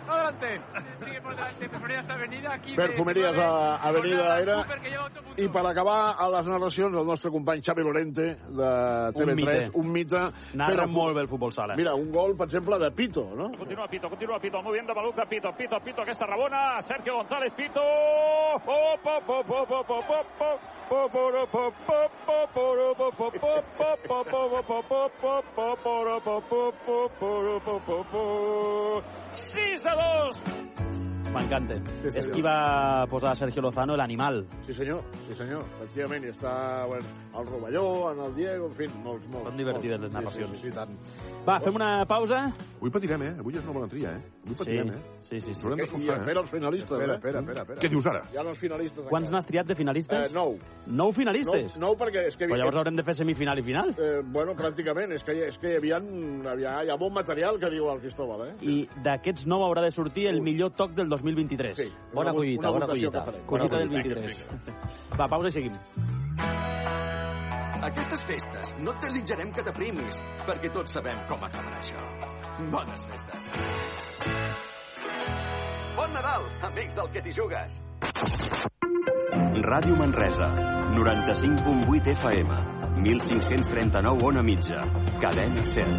Speaker 11: Adelante. Sigue por delante Perfumerías Avenida. 15,
Speaker 4: Perfumerías a, Eh, Avenida
Speaker 11: Jordan
Speaker 4: era...
Speaker 11: Cooper, que lleva ocho
Speaker 4: I per acabar, a les narracions, el nostre company Xavi Lorente, de TV3,
Speaker 2: mite.
Speaker 4: un mite.
Speaker 2: Narra
Speaker 4: Però-
Speaker 2: molt bé el futbol sala.
Speaker 4: Mira, un gol, per exemple, de Pito, no?
Speaker 32: Continúa Pito, continúa Pito, moviendo Baluca, Pito, Pito, Pito, que está Rabona, Sergio González, Pito. Oh, po, po, po, po, po, po, po. ¡6 a 2!
Speaker 2: M'encanta. és qui va posar Sergio Lozano, l'animal.
Speaker 4: Sí, senyor, sí, senyor, efectivament. I està bueno, el Rovelló, en el Diego, en fi, molts, molts.
Speaker 2: Són divertides les
Speaker 4: molts.
Speaker 2: narracions.
Speaker 4: Sí, sí, sí, tant.
Speaker 2: Va, fem una pausa.
Speaker 33: Avui patirem, eh? Avui és una bona tria, eh? Avui patirem, eh?
Speaker 2: Sí, sí, sí.
Speaker 33: Haurem
Speaker 4: I
Speaker 33: d'esforçar,
Speaker 4: espera
Speaker 33: eh?
Speaker 4: els finalistes,
Speaker 33: Espera,
Speaker 4: eh?
Speaker 33: espera, espera, espera. Què dius ara?
Speaker 4: Hi ha els finalistes.
Speaker 2: Quants
Speaker 4: encara.
Speaker 2: n'has triat de finalistes?
Speaker 4: Eh, nou.
Speaker 2: Nou finalistes?
Speaker 4: No, no, perquè és que...
Speaker 2: Però llavors haurem de fer semifinal i final.
Speaker 4: Eh, bueno, pràcticament, és que, hi- és que hi havia, hi havia, hi ha bon material que diu el Cristóbal, eh?
Speaker 2: I d'aquests nou haurà de sortir el millor toc del 2023.
Speaker 4: Sí.
Speaker 2: Bona
Speaker 4: Una vo-
Speaker 2: collita,
Speaker 4: una
Speaker 2: bona
Speaker 4: votació
Speaker 2: collita.
Speaker 4: que farem.
Speaker 2: Collita
Speaker 4: Bona
Speaker 2: del
Speaker 4: collita.
Speaker 2: 23. Va, pausa i seguim.
Speaker 1: Aquestes festes no et desitjarem que t'aprimis, perquè tots sabem com acabarà això. Bones festes. Bon Nadal, amics del que t'hi jugues.
Speaker 34: Ràdio Manresa, 95.8 FM, 1539 ona mitja, cadena 100.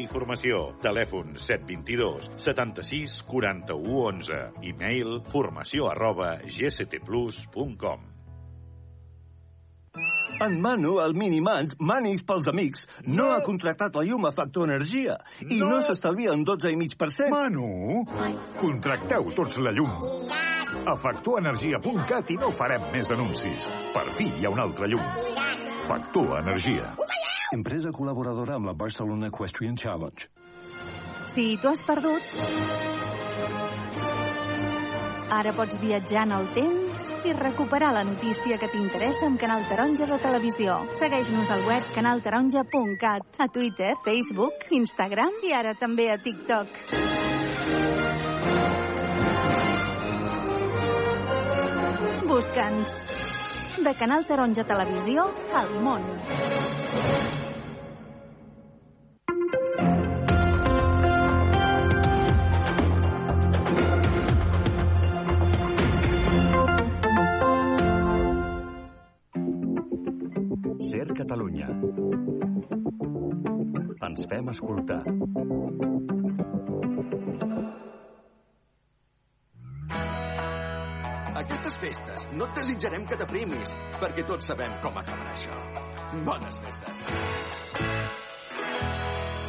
Speaker 18: i Formació. Telèfon 722 76 41 11. E-mail formació arroba gctplus.com.
Speaker 35: En Manu, el Minimans, mànics pels amics, no, ha contractat la llum a Factor Energia i no, s'estalvia un 12,5%. Manu,
Speaker 36: Contracteu tots la llum. A factorenergia.cat i no farem més anuncis. Per fi hi ha un altre llum. Factor Energia.
Speaker 35: Empresa col·laboradora amb la Barcelona Equestrian Challenge.
Speaker 8: Si t'ho has perdut, ara pots viatjar en el temps i recuperar la notícia que t'interessa amb Canal Taronja de Televisió. Segueix-nos al web canaltaronja.cat, a Twitter, Facebook, Instagram i ara també a TikTok. Busca'ns. De Canal Taronja Televisió al món.
Speaker 36: Ser Catalunya. Ens fem escoltar.
Speaker 1: Aquestes festes no et desitjarem que t'aprimis, perquè tots sabem com acabarà això. Bones festes.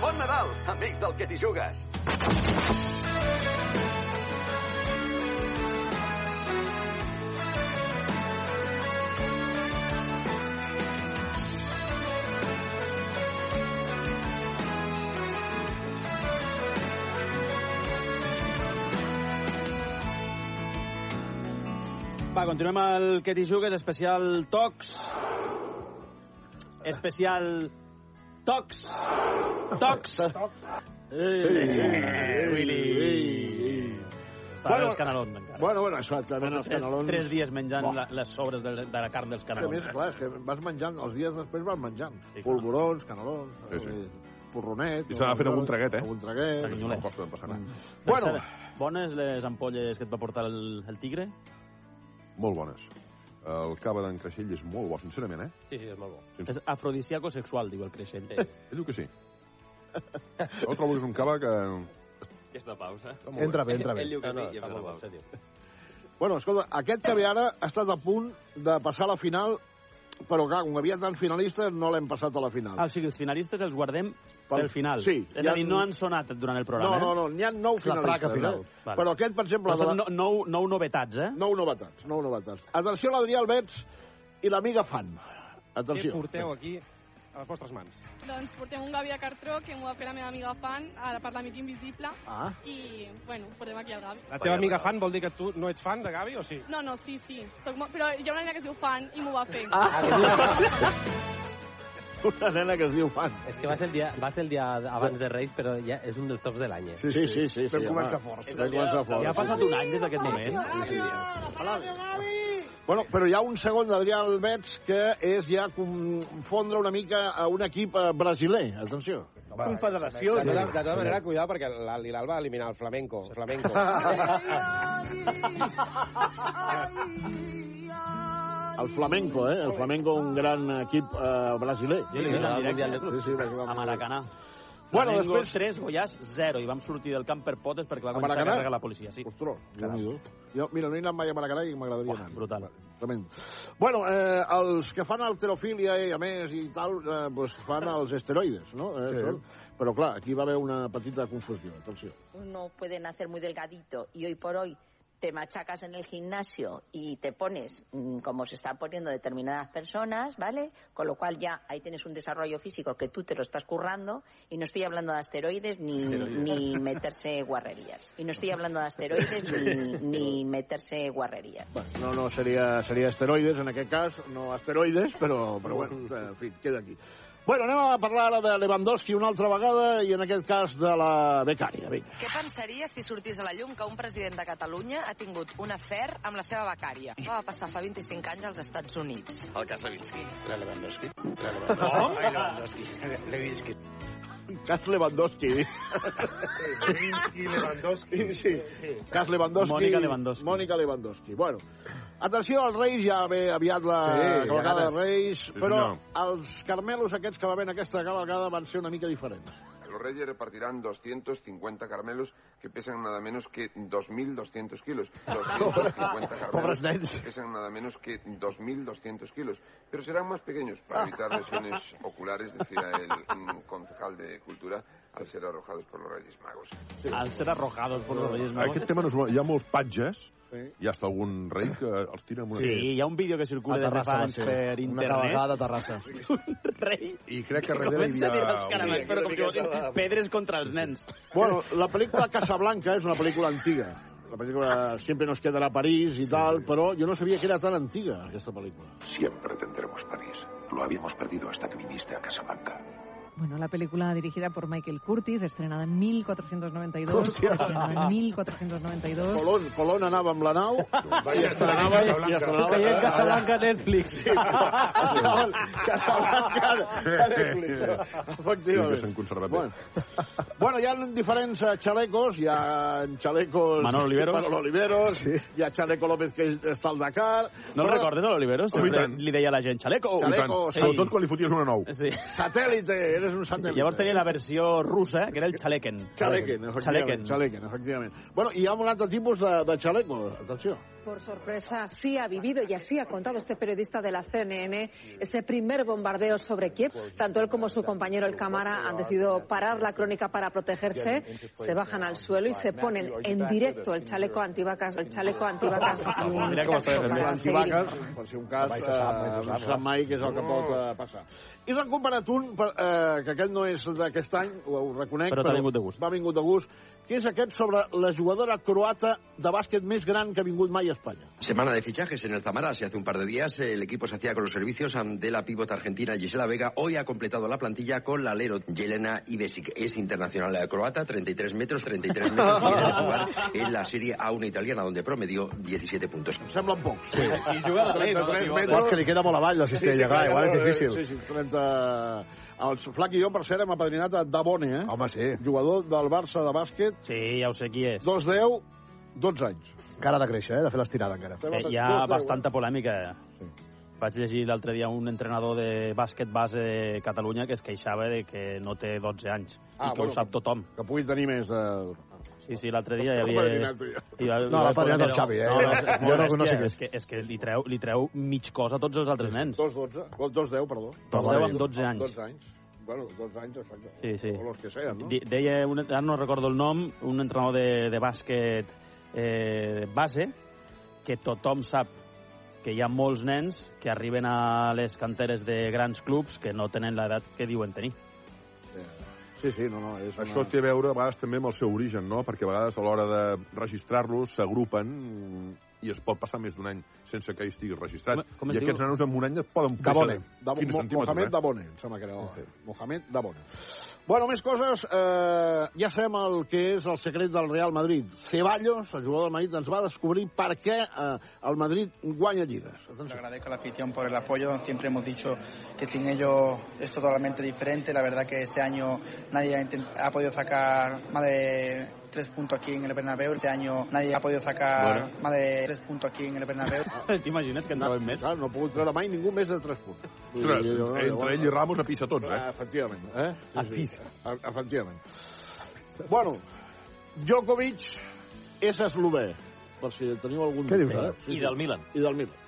Speaker 34: Bon Nadal, amics del que t'hi jugues.
Speaker 2: Va, continuem el que t'hi jugues, especial tocs. Especial tocs. Tocs.
Speaker 4: Eh,
Speaker 2: Willy. Estava
Speaker 4: Bueno,
Speaker 2: bueno, els canelons, encara.
Speaker 4: Bueno, bueno, exactament, els
Speaker 2: Tres-
Speaker 4: canelons...
Speaker 2: Tres dies menjant
Speaker 4: Buah.
Speaker 2: la, les sobres de, de la carn dels
Speaker 4: És que, a
Speaker 2: canelons.
Speaker 4: més, clar, és que vas menjant, els dies després vas menjant. Polvorons, canelons...
Speaker 33: Sí, sí.
Speaker 4: porronet...
Speaker 6: I s'anava fent algun traguet, eh?
Speaker 4: Algun traguet.
Speaker 6: Perquè si no costa, no passa res.
Speaker 4: Bueno.
Speaker 2: Bones les ampolles que et va portar el, el tigre?
Speaker 6: Molt bones. El cava d'en Creixell és molt bo, sincerament, eh?
Speaker 29: Sí, sí, és molt bo.
Speaker 2: És afrodisíaco sexual, diu el creixent.
Speaker 6: Ell diu que sí. Jo trobo que és un cava que...
Speaker 5: Que és de pausa.
Speaker 6: bé. Entra bé, entra bé.
Speaker 5: Ell diu que
Speaker 6: No,
Speaker 5: sí,
Speaker 6: no,
Speaker 5: i és
Speaker 6: està
Speaker 5: de
Speaker 6: molt bo,
Speaker 5: pausa.
Speaker 4: Bueno, escolta, aquest Caviara ha estat a punt de passar a la final, però clar, com que hi havia tants finalistes, no l'hem passat a la final.
Speaker 2: Ah, o sigui, els finalistes els guardem
Speaker 4: Pel-
Speaker 2: pel final.
Speaker 4: sí,
Speaker 2: És
Speaker 4: ja-
Speaker 2: a dir, no han sonat durant el programa,
Speaker 4: no, no, no,
Speaker 2: eh?
Speaker 4: n'hi ha nou
Speaker 2: És la
Speaker 4: finalistes.
Speaker 2: placa final.
Speaker 4: Eh?
Speaker 2: Vale.
Speaker 4: Però aquest, per exemple...
Speaker 2: Però
Speaker 4: de
Speaker 2: són nou, nou novetats, eh?
Speaker 4: Nou novetats, nou novetats. Atenció a l'Adrià Albets i l'amiga Fan. Atenció.
Speaker 5: Què porteu
Speaker 4: aquí
Speaker 5: A les vostres mans.
Speaker 37: Doncs portem un Gavi a Cartró que m'ho va fer la meva amiga Fan a- per l'amic invisible
Speaker 5: Ah.
Speaker 37: i, bueno, portem aquí el Gavi.
Speaker 5: La teva amiga fan vol dir que tu no ets fan de Gavi o sí?
Speaker 37: No, no, sí, sí. Soc molt... Però hi ha una nena que es diu Fan i m'ho va fer.
Speaker 4: Una nena que es diu Fan.
Speaker 29: És que va ser el dia, va ser el dia abans de Reis, però ja és un dels tops de l'any. eh?
Speaker 4: Sí, sí, sí, sí, Vam sí, començar home. forts. Vam començar forts.
Speaker 29: Ja ha passat un any des d'aquest moment.
Speaker 4: Bueno, però hi ha un segon d'Adrià Albets que és ja confondre una mica a un equip eh, brasiler. Atenció.
Speaker 5: Confederació.
Speaker 28: De tota, de tota manera, cuidado, perquè la Lilal va eliminar el flamenco. flamenco.
Speaker 4: El Flamenco, eh? El Flamenco, un gran equip eh, brasiler.
Speaker 2: Jo l'he vist en directe.
Speaker 4: Sí, sí, va jugar
Speaker 2: a Maracanà.
Speaker 4: Bueno,
Speaker 2: Flamengo,
Speaker 4: després-
Speaker 2: 3, Goiás, 0. I vam sortir del camp per potes perquè va
Speaker 4: A
Speaker 2: començar a
Speaker 4: Maracanà?
Speaker 2: carregar la policia. Sí.
Speaker 4: Ostres, Déu-n'hi-do. Jo, mira, no he anat mai a Maracanà i m'agradaria anar. Brutal. Tremendo. Bueno, eh, els que fan alterofília i a més i tal, eh, pues fan els esteroides, no? Eh,
Speaker 6: Sí.
Speaker 4: són- Però clar, aquí va haver una petita confusió, atenció.
Speaker 38: uno puede nacer muy delgadito y hoy por hoy te machacas en el gimnasio y te pones mm, como se están poniendo determinadas personas, ¿vale? Con lo cual ya ahí tienes un desarrollo físico que tú te lo estás currando y no estoy hablando de asteroides ni,
Speaker 39: Esteroides.
Speaker 38: ni meterse guarrerías. Y no estoy hablando de asteroides ni, ni meterse guarrerías.
Speaker 4: No, no, seria, seria esteroides en aquest cas, no asteroides, però, però bueno, en fi, queda aquí. Bueno, anem a parlar ara de Lewandowski una altra vegada i en aquest cas de la becària, vinga.
Speaker 40: Què pensaria si sortís a la llum que un president de Catalunya ha tingut un afer amb la seva becària? Que va passar fa 25 anys als Estats Units.
Speaker 41: El cas Levinsky. La Lewandowski. La
Speaker 4: Lewandowski.
Speaker 41: Lewandowski.
Speaker 4: Ai,
Speaker 41: Lewandowski. Levinsky.
Speaker 4: Cas Lewandowski.
Speaker 7: I Lewandowski.
Speaker 4: Sí, Cas Lewandowski.
Speaker 7: Mònica
Speaker 4: Lewandowski. Mònica Lewandowski. Bueno, atenció als Reis, ja ve aviat la
Speaker 6: Sí,
Speaker 4: cavalcada
Speaker 6: ganes.
Speaker 4: de Reis,
Speaker 6: Sí,
Speaker 4: però
Speaker 6: senyor.
Speaker 4: els carmelos aquests que va haver en aquesta cavalcada van ser una mica diferents.
Speaker 42: Los reyes repartirán 250 caramelos que pesan nada menos que 2.200 kilos. 250
Speaker 4: Pobres
Speaker 42: caramelos
Speaker 4: nens.
Speaker 42: que pesan nada menos que 2.200 kilos. Pero serán más pequeños para evitar lesiones oculares, decía el mm, concejal de Cultura, al ser arrojados por los reyes magos.
Speaker 2: Al ser arrojados por los Reyes Magos.
Speaker 6: Aquest tema no és... bo. Hi ha molts patges,
Speaker 4: sí.
Speaker 6: hi ha hasta algun rei que els tira amb una...
Speaker 2: Sí, hi ha un vídeo que circula
Speaker 6: A
Speaker 2: des de
Speaker 6: Terrassa
Speaker 2: fa
Speaker 6: va
Speaker 2: anys
Speaker 6: ser.
Speaker 2: per
Speaker 6: Una
Speaker 2: internet.
Speaker 6: cavalcada
Speaker 1: a Terrassa.
Speaker 6: I crec que darrere hi
Speaker 2: Comença a tirar els
Speaker 6: havia...
Speaker 2: caramels, però com si fossin pedres contra els nens.
Speaker 4: Bueno, la pel·lícula Casablanca és una pel·lícula antiga. La pel·lícula Siempre nos quedará París i tal, però jo no sabia que era tan antiga, aquesta pel·lícula.
Speaker 43: Siempre tendremos París. Lo habíamos perdido hasta que viniste a Casablanca.
Speaker 44: Bueno, la película dirigida por Michael Curtis, estrenada en 1492,
Speaker 4: Hòstia.
Speaker 44: estrenada en 1492.
Speaker 4: Colón, Colón anava amb la nau, i estrenava... I estrenava...
Speaker 44: Veient Casablanca
Speaker 4: a Netflix. Sí, Casablanca a Netflix.
Speaker 6: Sempre
Speaker 4: Efectivament.
Speaker 6: s'han conservat bé.
Speaker 4: Bueno, hi ha diferents eh, xalecos, hi ha xalecos...
Speaker 2: Manolo Oliveros.
Speaker 4: Manolo Oliveros,
Speaker 2: Sí.
Speaker 4: hi ha xaleco López que està al Dakar...
Speaker 2: No el
Speaker 4: Però-
Speaker 2: recordes, a l'Oliveros?
Speaker 4: Home, i
Speaker 2: Sempre
Speaker 4: tant.
Speaker 2: Li deia a la gent,
Speaker 6: Oh,
Speaker 2: xaleco!
Speaker 4: Xaleco, sí. Sobretot
Speaker 2: quan li foties una nou. Sí.
Speaker 4: Satèl·lite, eres un satèl·lite.
Speaker 2: Llavors tenia la versió russa, eh, que era el xalequen.
Speaker 4: Xalequen, efectivament.
Speaker 2: Xalequen.
Speaker 4: Xalequen, efectivament. Bueno, hi ha un altre tipus de, de xaleco, atenció.
Speaker 45: Por sorpresa, sí ha vivido y así ha contado este periodista de la CNN ese primer bombardeo sobre Kiev. Tanto él como su compañero el cámara han decidido parar la crónica para protegerse. Se bajan al suelo y se ponen en directo el chaleco antivacas, el chaleco antivacas.
Speaker 4: Mira com està
Speaker 45: Para
Speaker 4: defendent.
Speaker 45: seguir.
Speaker 4: Antivacas, per si un cas,
Speaker 1: Mai
Speaker 4: eh,
Speaker 1: se sap, mai se
Speaker 4: no
Speaker 1: sap,
Speaker 4: se
Speaker 1: no.
Speaker 4: sap mai què és el que pot eh, passar. I l'han comparat un, per- eh, que aquest no és d'aquest any, ho, ho reconec,
Speaker 2: Però t'ha vingut de gust.
Speaker 4: m'ha vingut de gust, que és aquest sobre la jugadora croata de bàsquet més gran que ha vingut mai a Espanya.
Speaker 46: Semana de fichajes en el Zamara. Si hace un par de días el equipo se hacía con los servicios de la pívot argentina Gisela Vega. Hoy ha completado la plantilla con la alero Yelena Ibesic. Es internacional croata, 33 metros, 33 metros. Y viene de jugar en la Serie A una italiana donde promedió 17 puntos.
Speaker 4: Semblen pocs.
Speaker 46: Sí. I juga de tres, no?
Speaker 4: 33
Speaker 46: Pivot.
Speaker 2: eh?
Speaker 4: metres.
Speaker 46: Clar, és que li queda molt avall la cistella,
Speaker 4: clar,
Speaker 46: clar, igual és
Speaker 4: eh,
Speaker 46: difícil.
Speaker 4: Sí, sí, 30... El Flac i jo, per cert, hem apadrinat a Dabone, eh? Home, sí. Jugador del Barça de bàsquet.
Speaker 2: Sí, ja ho sé qui és.
Speaker 4: 2-10, 12 anys.
Speaker 47: Encara ha de créixer, eh? De fer l'estirada, encara.
Speaker 2: Eh, hi ha bastanta polèmica. Vaig llegir l'altre dia un entrenador de bàsquet base de Catalunya que es queixava de que no té 12 anys
Speaker 4: Ah,
Speaker 2: i que
Speaker 4: bueno,
Speaker 2: ho sap tothom.
Speaker 4: Que pugui tenir més eh, de...
Speaker 2: Sí, sí, l'altre dia hi
Speaker 4: Com
Speaker 2: havia...
Speaker 4: adivinat, tu i jo.
Speaker 2: hi va-
Speaker 4: No,
Speaker 2: hi va
Speaker 4: l'ha patinat
Speaker 2: poder-
Speaker 4: el Xavi, eh?
Speaker 2: No, no,
Speaker 4: Jo
Speaker 2: molt
Speaker 4: no- no sé què
Speaker 2: bèstia,
Speaker 4: és.
Speaker 2: és. que, és que li treu, li treu mig cos a tots els altres nens.
Speaker 4: 2-12, Gol 2-10, perdó.
Speaker 2: Però
Speaker 4: Perdó,
Speaker 2: deu
Speaker 4: eh?
Speaker 2: amb 12 anys.
Speaker 4: 12 anys. Bueno, 12 anys, exacte.
Speaker 2: Sí, sí.
Speaker 4: O los que sean, no?
Speaker 2: Di- Deia, un, ara no recordo el nom, un entrenador de, de bàsquet eh, base, que tothom sap que hi ha molts nens que arriben a les canteres de grans clubs que no tenen l'edat que diuen tenir.
Speaker 4: Sí, sí, no, no. És
Speaker 6: una... Això té a veure a vegades també amb el seu origen, no? Perquè a vegades a l'hora de registrar-los s'agrupen mm, i es pot passar més d'un any sense que hi estigui registrat.
Speaker 4: Com- com es
Speaker 6: I aquests
Speaker 4: diu?
Speaker 6: nanos en un any et poden
Speaker 4: Dabone. Dab
Speaker 6: Dabone.
Speaker 4: Mo Mohamed Dabone, em sembla que era. eh? Sí. Mohamed Dabone. Bueno, més coses. Eh, ja sabem el que és el secret del Real Madrid. Ceballos, el jugador del Madrid, ens va descobrir per què eh, el Madrid guanya lligues.
Speaker 39: Les agradezco a la afición por el apoyo. Siempre hemos dicho que sin ellos es totalmente diferente. La verdad que este año nadie ha, intent- ha podido sacar más de tres puntos aquí en el Bernabéu. Este año nadie ha podido sacar
Speaker 2: Bueno.
Speaker 39: más de tres puntos aquí en el Bernabéu.
Speaker 2: T'imagines que en traven més?
Speaker 4: Clar, no ha pogut treure mai ningú més de 3 punts.
Speaker 6: Ostres, entre ell i Ramos a pisa tots, eh?
Speaker 4: Ah, efectivament. Eh? Sí, sí. A pisa. Efectivament. Bueno, Djokovic és eslové, per si teniu algun...
Speaker 11: Què dius,
Speaker 4: dubte,
Speaker 11: ara?
Speaker 4: eh? Sí,
Speaker 11: I
Speaker 4: sí.
Speaker 11: del Milan.
Speaker 4: I del Milan.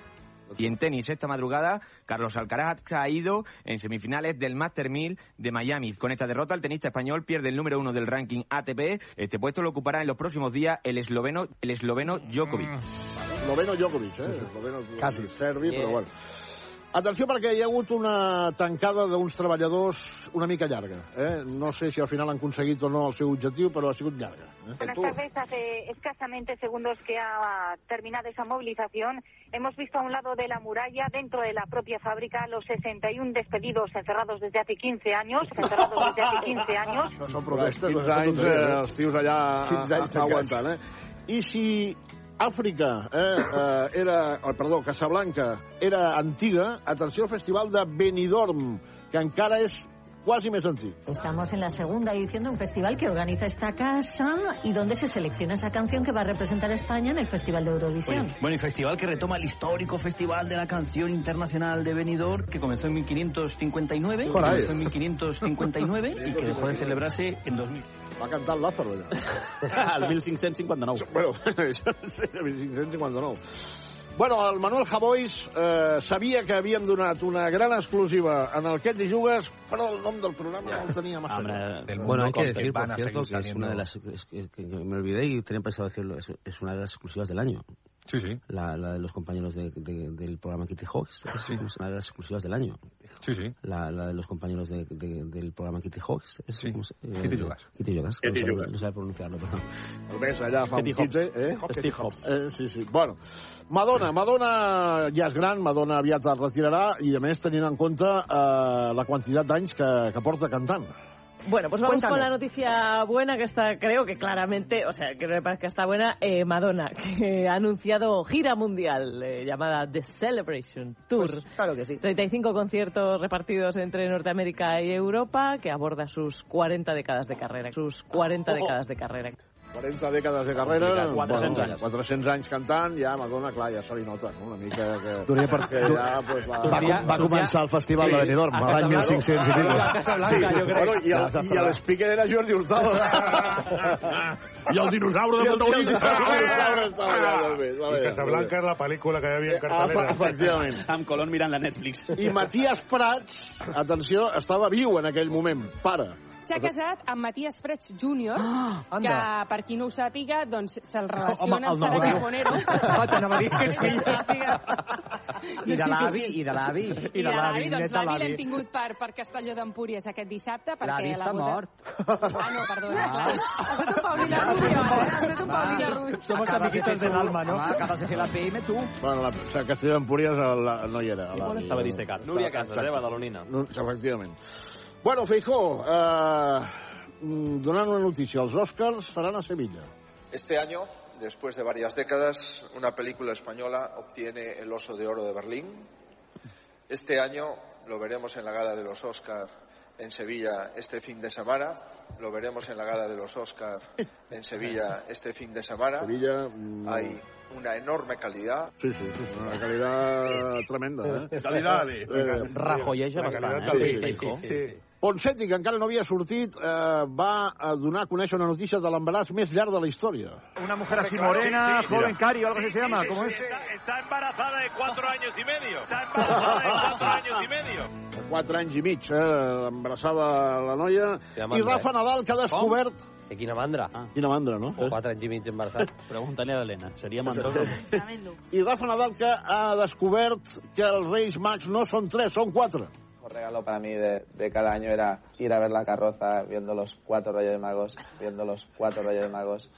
Speaker 11: Y en tenis, esta madrugada, Carlos Alcaraz ha ido en semifinales del Master 1000 de Miami. Con esta derrota, el tenista español pierde el número uno del ranking ATP. Este puesto lo ocupará en los próximos días el esloveno, el esloveno Djokovic.
Speaker 4: Loveno Djokovic, eh? Loveno
Speaker 11: Quasi.
Speaker 4: Serbi,
Speaker 11: Yeah.
Speaker 4: però bueno. Atenció perquè hi ha hagut una tancada d'uns treballadors una mica llarga. Eh? No sé si al final han aconseguit o no el seu objectiu, però ha sigut llarga. Eh?
Speaker 48: Buenas tardes. Hace escasamente segundos que ha terminado esa movilización, hemos visto a un lado de la muralla, dentro de la propia fábrica, los 61 despedidos encerrados desde hace 15 años, encerrados desde hace 15 años.
Speaker 4: No són protestes,
Speaker 11: 15
Speaker 4: no són
Speaker 11: anys,
Speaker 4: tonteries,
Speaker 11: eh,
Speaker 4: els tios allà
Speaker 11: 15 anys
Speaker 4: a- a- aguantant. Eh? I si Àfrica, eh, eh, era, oh, perdó, Casablanca, era antiga, atenció al festival de Benidorm, que encara és quasi més antic.
Speaker 8: Estamos en la segunda edición de un festival que organiza esta casa y donde se selecciona esa canción que va a representar a España en el Festival de Eurovisión.
Speaker 49: Bueno, y festival que retoma el histórico Festival de la Canción Internacional de Benidorm, que comenzó en 1559, que
Speaker 4: Caray.
Speaker 30: Pues
Speaker 49: comenzó en 1559 y que dejó de celebrarse en 2000.
Speaker 4: Va cantar el Lázaro, allà.
Speaker 2: El 1559.
Speaker 4: Bueno, això sí, el 1559. Bueno, el Manuel Javois eh, sabia que havíem donat una gran exclusiva en el Què et hi jugues, però el nom del programa no el tenia massa. clar.
Speaker 16: eh, Bueno, hay que decir, por cierto, que es una de las... es que, que me olvidé y tenía pensado decirlo. Es, es una de las exclusivas del año. Sí, sí. La, la de los compañeros de- de- del programa Kitty Hawks. Es, es una de las exclusivas del año. Sí, sí. La, la de los compañeros de- de- del programa Kitty Hawks. Es, sí.
Speaker 6: Kitty Yogas.
Speaker 16: Kitty Yogas.
Speaker 6: Kitty
Speaker 16: no sabía-
Speaker 6: Yogas.
Speaker 16: No sabía pronunciarlo, perdón.
Speaker 4: El ves allà fa
Speaker 16: Steve
Speaker 4: un quite,
Speaker 16: Hobbs.
Speaker 4: eh?
Speaker 16: Hobbs, Steve Hobbs.
Speaker 4: Eh, sí, sí. Bueno, Madonna, Madonna ja és gran, Madonna aviat es retirarà i, a més, tenint en compte eh, la quantitat d'anys que, que porta cantant.
Speaker 30: Bueno, pues vamos
Speaker 4: Cuéntame.
Speaker 30: con la noticia buena que está, creo que claramente, o sea, que me parece que está buena, eh, Madonna, que ha anunciado gira mundial eh, llamada The Celebration Tour. Pues claro que sí. 35 conciertos repartidos entre Norteamérica y Europa que aborda sus 40 décadas de carrera. Sus 40
Speaker 4: Oh.
Speaker 30: décadas de carrera.
Speaker 4: 40 dècades
Speaker 16: Oh,
Speaker 4: de carrera,
Speaker 30: Complicat, 400 anys.
Speaker 4: 400 anys cantant, ja Madonna, clar, ja se li nota, no? una mica que...
Speaker 47: Donaria per-
Speaker 4: que ja, pues, la...
Speaker 47: Va, com- va començar el festival de Benidorm, l'any 1500 i pico. Sí.
Speaker 4: Bueno, i el, i el speaker era Jordi Hurtado.
Speaker 6: I el dinosaure de protagonista.
Speaker 1: I Casablanca és la pel·lícula que hi
Speaker 15: Ah,
Speaker 1: havia en cartelera.
Speaker 4: Efectivament.
Speaker 2: Amb Colón mirant la Netflix.
Speaker 4: I Matías Prats, atenció, estava viu en aquell moment, pare.
Speaker 30: S'ha casat amb Matías Prats Júnior, que,
Speaker 4: anda.
Speaker 30: per qui no ho sàpiga, doncs se'l relaciona Ah, el amb Sara Navarro. Carbonero. Ah, t'anava a dir que sí. I de l'avi, i de l'avi. I de l'avi, doncs net de l'avi l'avi. l'hem tingut per, per Castelló d'Empúries aquest dissabte. perquè L'avi la està boda- mort. Ah, no, perdona, Ah. clar. Ha estat un Paulina Rubio, eh? Ha estat un Paulina Rubio.
Speaker 3: Acabas de hacer la PM, tú.
Speaker 4: Bueno, la, a Castelló d'Empúries la- no hi era.
Speaker 3: Igual estava dissecat. Núria Casas, eh, badalonina.
Speaker 4: No, efectivament. Bueno, Feijó, eh, mm, donant una notícia, els Oscars seran a Sevilla.
Speaker 15: Este año, después de varias décadas, una película española obtiene el Oso de Oro de Berlín. Este año lo veremos en la gala de los Oscar
Speaker 18: en Sevilla este fin de semana. Lo veremos en la gala de los Oscars en Sevilla este fin de
Speaker 15: Ah.
Speaker 18: semana.
Speaker 4: Sevilla, mm.
Speaker 18: Hay una enorme calidad.
Speaker 4: Sí, sí, sí, sí, una calidad tremenda, eh?
Speaker 6: Calidad, eh?
Speaker 2: Rajoyeja
Speaker 4: La
Speaker 2: bastant,
Speaker 4: calidad
Speaker 2: eh?
Speaker 4: també.
Speaker 2: Sí, sí, sí.
Speaker 4: Ponseti, que encara no havia sortit, eh, va a donar a conèixer una notícia de l'embaràs més llarg de la història.
Speaker 5: Una mujer así morena,
Speaker 4: Sí, sí,
Speaker 5: joven
Speaker 4: mira.
Speaker 5: Cari, o algo así se llama.
Speaker 15: sí,
Speaker 5: ¿Cómo
Speaker 15: sí,
Speaker 5: es?
Speaker 15: Está, está embarazada de cuatro años y medio. Está embarazada de cuatro años y medio.
Speaker 4: De Quatre anys i mig, eh, embarassada la noia. I Rafa Nadal, que ha descobert...
Speaker 50: Que eh? quina mandra. Ah.
Speaker 4: Quina mandra, no?
Speaker 50: O quatre anys i mig embarassat.
Speaker 2: Pregunta-li a l'Helena. Seria
Speaker 4: mandroso. I Rafa Nadal, que ha descobert que els Reis Mags no són tres, són quatre.
Speaker 51: Un regalo para mí de, de cada año era ir a ver la carroza viendo los cuatro Reyes Magos, viendo los cuatro Reyes Magos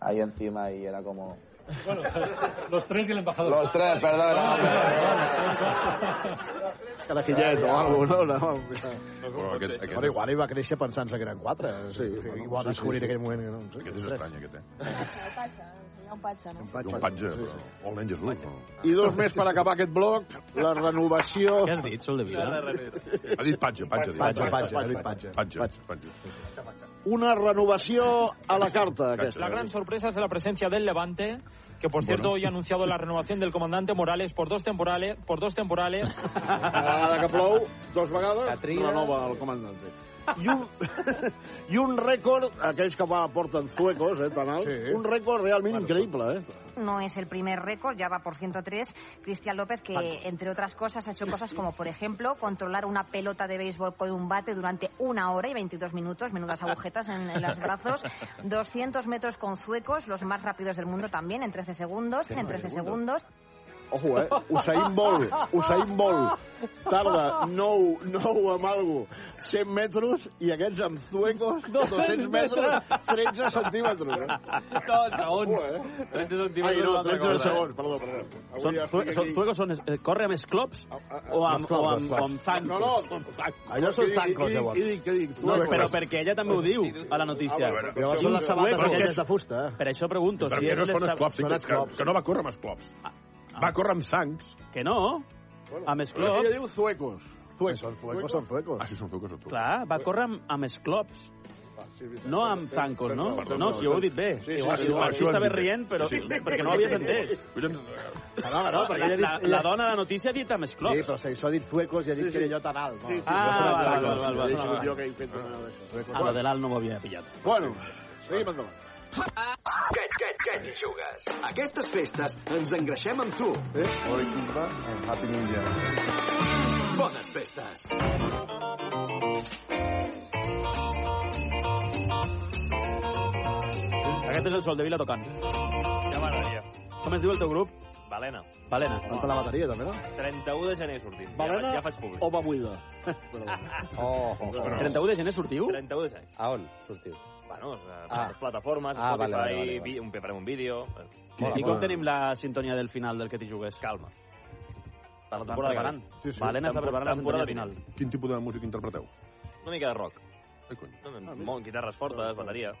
Speaker 51: ahí encima y era como... Bueno, los tres y el embajador. Los tres, perdón.
Speaker 4: Carajillet o alguna cosa, no?
Speaker 6: Però aquest, aquest,
Speaker 4: Bueno, igual hi va créixer pensant-se que eren quatre. Sí, igual
Speaker 6: sí,
Speaker 4: descobrir
Speaker 6: sí.
Speaker 4: en aquell moment. que No, sé.
Speaker 6: aquest és estrany, aquest, eh?
Speaker 52: El patxa, ensenyar un patxa, no?
Speaker 6: Un patge, però... O l'any Jesús, no?
Speaker 4: I dos més per acabar aquest bloc, la renovació... Què has dit, Sol de
Speaker 6: Vila? Ha dit patge, patge. ha dit
Speaker 4: Patge, patge, ha dit patge.
Speaker 6: patge. Patge, patge.
Speaker 4: Una renovació a la carta, aquesta.
Speaker 52: La gran sorpresa es la presencia del Levante, que por cierto hoy ha anunciado la renovación del comandante Morales por dos temporales, por dos temporales.
Speaker 4: Una vegada que plou, dos vegades, renova el comandante. I un, I un rècord, aquells que va porten zuecos, eh, tan alt, sí. un rècord realment bueno, increïble, eh?
Speaker 29: No es el primer récord, ya va por 103. Cristian López, que entre otras cosas ha hecho cosas como, por ejemplo, controlar una pelota de béisbol con un bate durante una hora y 22 minutos, menudas agujetas en, en los brazos. 200 metros con zuecos, los más rápidos del mundo también, en 13 segundos.
Speaker 4: Sí,
Speaker 29: En 13 segundos.
Speaker 4: Ojo, eh? Usain Bolt, Usain Bolt. Tarda 9, 9 amb algo, 100 metres, i aquests amb zuecos, 200 metres, 13 centímetres. Eh?
Speaker 52: No, segons.
Speaker 4: eh?
Speaker 52: 30
Speaker 4: Ai,
Speaker 52: centímetres.
Speaker 4: no,
Speaker 52: una altra
Speaker 4: 13
Speaker 52: cosa, eh?
Speaker 4: segons, perdó, perdó. Avui
Speaker 2: Són,
Speaker 4: ja
Speaker 2: zue-
Speaker 4: estic
Speaker 2: són,
Speaker 4: aquí.
Speaker 2: zuecos són, eh, corre amb esclops o amb, o amb, o amb zancos?
Speaker 4: No, no,
Speaker 2: Allò són zancos, llavors.
Speaker 4: Què dic, què dic?
Speaker 2: No, però perquè ella també ho diu, a la notícia.
Speaker 4: Ah, bueno, però Llavors són les sabates
Speaker 2: Zuecos.
Speaker 4: aquelles de fusta, eh?
Speaker 2: Per això pregunto.
Speaker 6: Però
Speaker 2: si
Speaker 6: que
Speaker 2: és
Speaker 6: no
Speaker 2: les
Speaker 6: són
Speaker 2: sab-
Speaker 6: esclops, sí,
Speaker 2: Són
Speaker 6: que, que,
Speaker 2: esclops.
Speaker 6: que no va córrer amb esclops. Va córrer amb sangs.
Speaker 2: Ah, Que no? Amb esclops.
Speaker 4: Ella diu zuecos. Zuecos. Són
Speaker 2: zuecos,
Speaker 4: són zuecos.
Speaker 6: Ah, sí, són zuecos, són zuecos.
Speaker 2: Clar, va córrer amb, amb esclops. No amb zancos, no?
Speaker 6: Perdó,
Speaker 2: no,
Speaker 6: perdó.
Speaker 2: si ho heu dit bé.
Speaker 6: Sí, sí,
Speaker 2: igual,
Speaker 6: sí,
Speaker 2: igual,
Speaker 6: sí,
Speaker 2: sí,
Speaker 6: sí,
Speaker 2: estava
Speaker 6: sí.
Speaker 2: rient, però
Speaker 6: Sí, sí.
Speaker 2: perquè no ho havies entès.
Speaker 6: Collons,
Speaker 4: No, no, no, perquè
Speaker 2: perquè
Speaker 4: ella ha
Speaker 2: la,
Speaker 4: dit-
Speaker 2: la dona de la notícia ha dit amb esclops.
Speaker 4: Sí, però si això ha dit zuecos i ha dit que era allò tan alt. No.
Speaker 2: Sí, sí, Ah,
Speaker 4: Jo
Speaker 2: val,
Speaker 4: soc zuecos. Sí, sí,
Speaker 2: val, val, val, val, val.
Speaker 4: Jo que he fet una de
Speaker 2: A lo de l'alt no m'ho havia pillat.
Speaker 4: Bueno, seguim endavant.
Speaker 37: Què, què, què t'hi jugues? Aquestes festes ens engreixem amb tu. Eh? Oi, compa? Happy New Year. Bones festes.
Speaker 2: Aquest és el Sol de Vila tocant.
Speaker 52: Ja m'agradaria.
Speaker 2: Com es diu el teu grup?
Speaker 52: Balena.
Speaker 2: Valena.
Speaker 52: Falta la
Speaker 4: bateria, també, no?
Speaker 52: 31 de gener sortim.
Speaker 4: Balena
Speaker 52: Ja, ja faig públic.
Speaker 4: o Babuida?
Speaker 52: Oh,
Speaker 2: oh. 31 de gener sortiu?
Speaker 52: 31 de gener. A on sortiu? Bueno, a
Speaker 2: Ah.
Speaker 52: ah. plataformes,
Speaker 2: Ah,
Speaker 52: ah,
Speaker 2: vale,
Speaker 52: Spotify,
Speaker 2: vale,
Speaker 52: vale,
Speaker 2: vale,
Speaker 52: vale,
Speaker 2: vale.
Speaker 52: un, preparem un vídeo...
Speaker 2: Sí, I com tenim la sintonia del final del que t'hi jugues? Calma.
Speaker 52: Per la
Speaker 2: Estan
Speaker 52: temporada
Speaker 2: preparant.
Speaker 52: que ve.
Speaker 2: Sí, sí. Valena està preparant la
Speaker 52: Temporada
Speaker 2: sintonia final.
Speaker 6: Quin tipus de música interpreteu?
Speaker 52: Una mica de rock.
Speaker 6: Ai, cony.
Speaker 52: No, no, ah, guitarres fortes, bateria...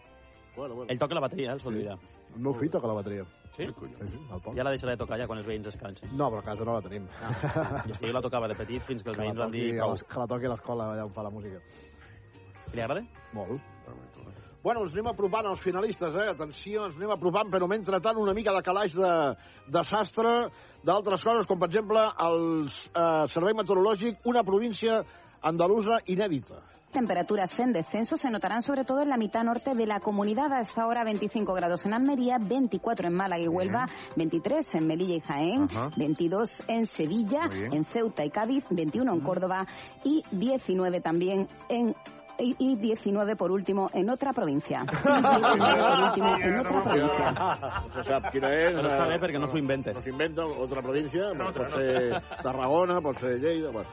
Speaker 4: Bueno, bueno.
Speaker 2: Ell toca la bateria, eh, el Sol de Vila.
Speaker 4: El meu fill toca la bateria.
Speaker 2: Sí?
Speaker 4: al poc.
Speaker 2: Ja la deixaré de tocar ja quan els veïns es cansen.
Speaker 4: No, però a casa no la tenim.
Speaker 2: I és que jo la tocava de petit fins que els
Speaker 4: Que la
Speaker 2: veïns van dir...
Speaker 4: toqui a
Speaker 2: prou.
Speaker 4: les- que la toqui a l'escola, allà on fa la música.
Speaker 2: Li agrada?
Speaker 4: Molt. Bueno, ens anem apropant als finalistes, eh? Atenció, ens anem apropant, però mentre tant una mica de calaix de, de sastre d'altres coses, com per exemple el eh, Servei Meteorològic, una província andalusa inèdita.
Speaker 28: Temperaturas en descenso se notarán sobre todo en la mitad norte de la comunidad. A esta hora 25 grados en Almería, 24 en Málaga y Huelva, 23 en Melilla y Jaén, 22 en Sevilla,
Speaker 38: Muy bien.
Speaker 28: en Ceuta y Cádiz, 21 en Córdoba y 19 también en... Y, y 19 por último en otra provincia. Y 19 por último en otra provincia.
Speaker 4: No se sap quina és.
Speaker 2: Però està bé perquè no
Speaker 4: s'ho inventa. No s'inventa altra província, pot ser Tarragona, pot ser Lleida... Bueno.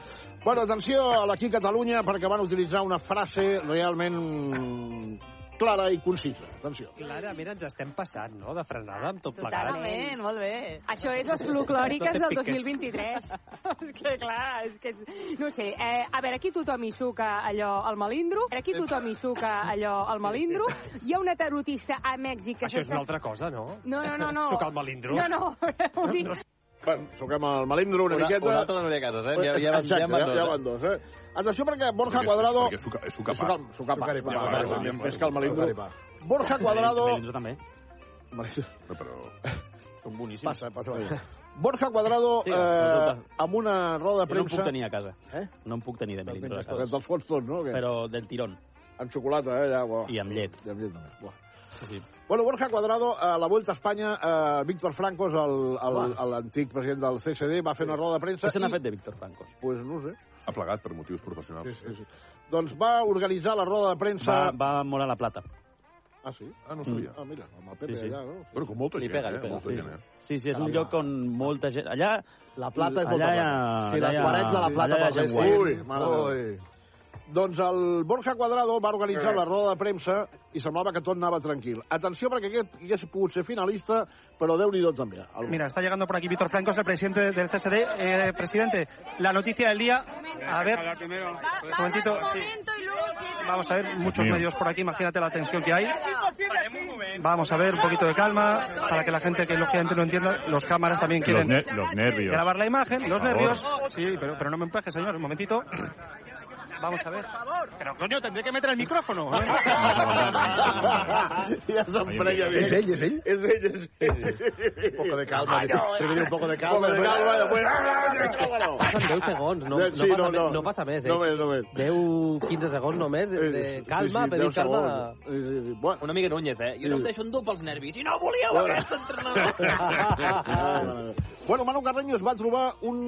Speaker 4: bueno, atenció a l'Aquí Catalunya perquè van utilitzar una frase realment clara i concisa. Atenció.
Speaker 37: Clarament ens estem passant, no?, de frenada amb tot plegat.
Speaker 30: Totalment, molt bé. Això és les folclòriques
Speaker 37: No
Speaker 30: del
Speaker 37: te piques.
Speaker 30: 2023. és que, clar, és que... És... No ho sé, eh, a veure, aquí tothom hi suca allò al malindro, aquí tothom hi suca allò al malindro, hi ha una tarotista a Mèxic que...
Speaker 37: Això és
Speaker 30: s'està-
Speaker 37: una altra cosa, no?
Speaker 30: No, no, no, no.
Speaker 37: Sucar el malindro.
Speaker 30: No, no, vull dir...
Speaker 4: Bueno, soquem el malindro una,
Speaker 52: Una-
Speaker 4: miqueta.
Speaker 52: una altra de Núria Casas, eh? Ja- ja van-
Speaker 4: Exacte,
Speaker 52: ja van dos,
Speaker 4: ja,
Speaker 52: eh?
Speaker 4: van dos, eh? Atenció perquè Borja
Speaker 6: Perquè és-
Speaker 4: Cuadrado...
Speaker 6: perquè és suca- és sucapar.
Speaker 4: suca- sucapar.
Speaker 6: Sucaripa.
Speaker 4: Vale, vale, vale.
Speaker 6: Sucaripa.
Speaker 4: Més que el melindro.
Speaker 6: Sucaripa.
Speaker 4: Borja Cuadrado...
Speaker 2: Melindro també.
Speaker 6: No, però...
Speaker 2: Són boníssims.
Speaker 4: Passa, passa. Borja Quadrado,
Speaker 2: Sí,
Speaker 4: eh,
Speaker 2: resulta.
Speaker 4: amb una roda de
Speaker 2: Jo no em
Speaker 4: premsa...
Speaker 2: puc tenir a casa.
Speaker 4: Eh?
Speaker 2: No em puc tenir de melindro a casa.
Speaker 4: Dels fons tots, no?
Speaker 2: Però del tirón.
Speaker 4: Amb xocolata, eh? Ja, buah.
Speaker 2: I amb llet.
Speaker 4: I amb llet només. Buah.
Speaker 2: Sí.
Speaker 4: Bueno, Borja Cuadrado, a la Vuelta a Espanya, eh, Víctor Francos, el- el- el- l'antic president del CSD, va fer una roda de premsa...
Speaker 6: Què se n'ha
Speaker 4: i-
Speaker 6: fet
Speaker 2: de Víctor Francos?
Speaker 4: Pues no ho sé.
Speaker 6: Ha plegat per motius professionals.
Speaker 4: Sí, sí, sí. Doncs va organitzar la roda de premsa...
Speaker 2: Va, va molt a la plata.
Speaker 4: Ah, sí?
Speaker 6: Ah, no
Speaker 4: Mm.
Speaker 6: sabia.
Speaker 4: Ah, mira, amb el Pepe
Speaker 2: Sí, sí.
Speaker 4: allà, no?
Speaker 6: Però com molta
Speaker 2: Li
Speaker 6: gent,
Speaker 2: pega, li
Speaker 6: eh?
Speaker 2: pega.
Speaker 6: Molta
Speaker 2: Sí.
Speaker 6: gent, eh?
Speaker 2: Sí, sí, és un lloc on molta gent... Allà...
Speaker 4: Ah. La Plata és
Speaker 2: allà
Speaker 4: molta
Speaker 2: hi ha,
Speaker 4: plata. Sí,
Speaker 2: allà
Speaker 4: les
Speaker 2: hi ha-
Speaker 4: guarets de la Plata
Speaker 2: allà hi ha
Speaker 4: parlessin.
Speaker 2: gent guai.
Speaker 4: Ui, mare de Déu. Doncs el Borja Cuadrado va organitzar la roda de premsa i semblava que tot anava tranquil. Atenció, perquè aquest hagués pogut ser finalista, però Déu-n'hi-do també. El...
Speaker 18: Mira, está llegando por aquí Víctor Francos, el presidente del CSD. Eh, presidente, la noticia del día. A ver, un momentito. Vamos a ver, muchos medios por aquí, imagínate la tensión que hay. Vamos a ver, un poquito de calma, para que la gente que lógicamente no entienda, los cámaras también
Speaker 7: Los
Speaker 18: quieren
Speaker 7: ne- los nervios.
Speaker 18: grabar la imagen, los
Speaker 7: Por favor.
Speaker 18: nervios. Sí, pero, pero no me empaje, señor, un momentito. Vamos a ver. Pero coño, tendré que meter el micrófono. ¿eh?
Speaker 4: Ja s'emprenya bé.
Speaker 18: És ell,
Speaker 4: és ell? És ell, és ell. Un poco de calma. un poco de calma. Un poco de calma, després...
Speaker 11: Passen 10 segons, no,
Speaker 4: Sí,
Speaker 11: no, passa,
Speaker 4: no,
Speaker 11: me-
Speaker 4: no.
Speaker 11: no passa més. Eh?
Speaker 4: Només, només.
Speaker 11: 10, 15 segons només, de,
Speaker 4: Sí,
Speaker 11: de
Speaker 4: sí,
Speaker 11: calma,
Speaker 4: sí,
Speaker 11: pedir
Speaker 4: deu
Speaker 11: calma.
Speaker 4: segons. Sí, sí, sí. Bueno.
Speaker 11: Una mica Núñez, eh? Jo
Speaker 4: Sí.
Speaker 11: no em deixo endur pels nervis. I no volíeu
Speaker 4: Bueno.
Speaker 11: aquest entrenador.
Speaker 4: Bueno, Manu Carreño es va trobar un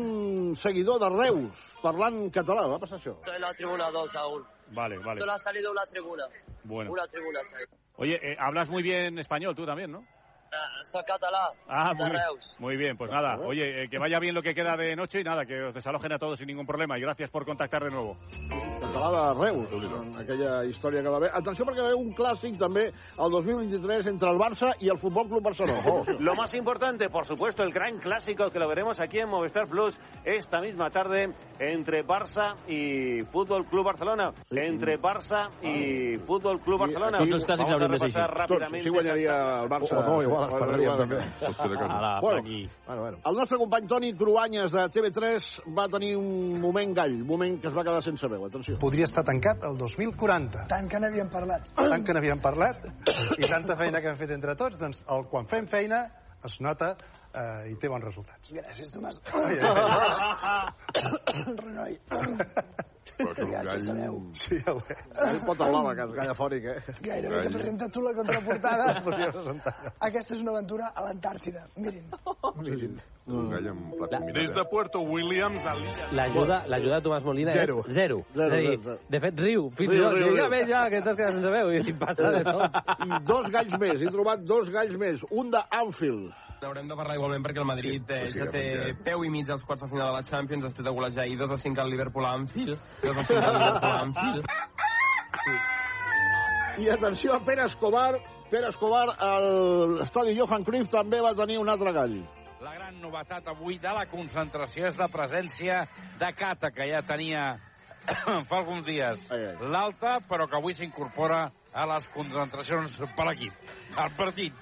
Speaker 4: seguidor de Reus parlant català. Va passar això.
Speaker 1: Estoy en la tribuna 2, Saúl.
Speaker 7: Vale, vale.
Speaker 1: Solo ha salido una tribuna.
Speaker 7: Bueno.
Speaker 1: Una tribuna, Saúl.
Speaker 7: Oye, eh, hablas muy bien español tú también, ¿no?
Speaker 1: Ah, Soy catalán. de
Speaker 7: muy, bien.
Speaker 1: Reus.
Speaker 7: muy bien. Pues nada, oye, eh, que vaya bien lo que queda de noche y nada, que os desalojen a todos sin ningún problema. Y gracias por contactar de nuevo.
Speaker 4: Català de Reus, en aquella història que va haver. Atenció perquè va haver un clàssic també el 2023 entre el Barça i el Futbol Club Barcelona.
Speaker 51: Lo más importante, por supuesto, el gran clásico que lo veremos aquí en Movistar Plus esta misma tarde entre Barça y Fútbol Club Barcelona. Entre Barça y Fútbol Club Barcelona.
Speaker 4: Tots els clàssics
Speaker 51: Vamos a
Speaker 4: haurien de ser
Speaker 51: repasar
Speaker 4: així.
Speaker 51: rápidamente.
Speaker 4: Tots, si Doncs guanyaria el Barça.
Speaker 51: O- o no, igual es
Speaker 4: Bueno,
Speaker 51: perdria
Speaker 4: Oh, igual
Speaker 51: també.
Speaker 4: també.
Speaker 51: Pot ser de casa. Ara, per aquí.
Speaker 4: Bueno, bueno. El nostre company Toni Cruanyes de TV3 va tenir un moment gall, un moment que es va quedar sense veu. Atenció.
Speaker 39: podria estar tancat el 2040. Tant que n'havíem parlat. Tant que n'havíem parlat i tanta feina que hem fet entre tots, doncs el, quan fem feina es nota eh, i té bons resultats. Gràcies, Tomàs. Renoi.
Speaker 6: Ja
Speaker 39: ho sabeu. Sí, ja ho he.
Speaker 4: El pot al lava, que és gallafònic, eh?
Speaker 39: Gairebé que presenta tu la contraportada. Aquesta és una aventura a l'Antàrtida. Mirin.
Speaker 6: Un gall amb plat combinat,
Speaker 7: Des
Speaker 6: eh?
Speaker 7: de Puerto Williams al Lilla.
Speaker 11: L'ajuda l'ajuda de Tomàs Molina
Speaker 7: Zero.
Speaker 11: és zero.
Speaker 7: Zero,
Speaker 11: és a dir,
Speaker 7: zero, zero.
Speaker 11: de fet, riu. Fins i
Speaker 7: Riu,
Speaker 11: tot,
Speaker 7: riu, riu.
Speaker 11: digue ja, que t'has quedat sense veu. I li passa de tot.
Speaker 4: I dos galls més, he trobat dos galls més. Un de Anfield.
Speaker 53: Haurem de parlar igualment perquè el Madrid eh, ja té peu i mig als quarts de final de la Champions després de golejar i 2 a 5 al Liverpool a Anfield. 2 a 5 al Liverpool a Anfield.
Speaker 4: I atenció a Pere Escobar. Pere Escobar, a l'estadi Johan Cruyff també va tenir un altre gall.
Speaker 16: La gran novetat avui de la concentració és la presència de Cata, que ja tenia fa alguns dies l'alta, però que avui s'incorpora a les concentracions per equip. El partit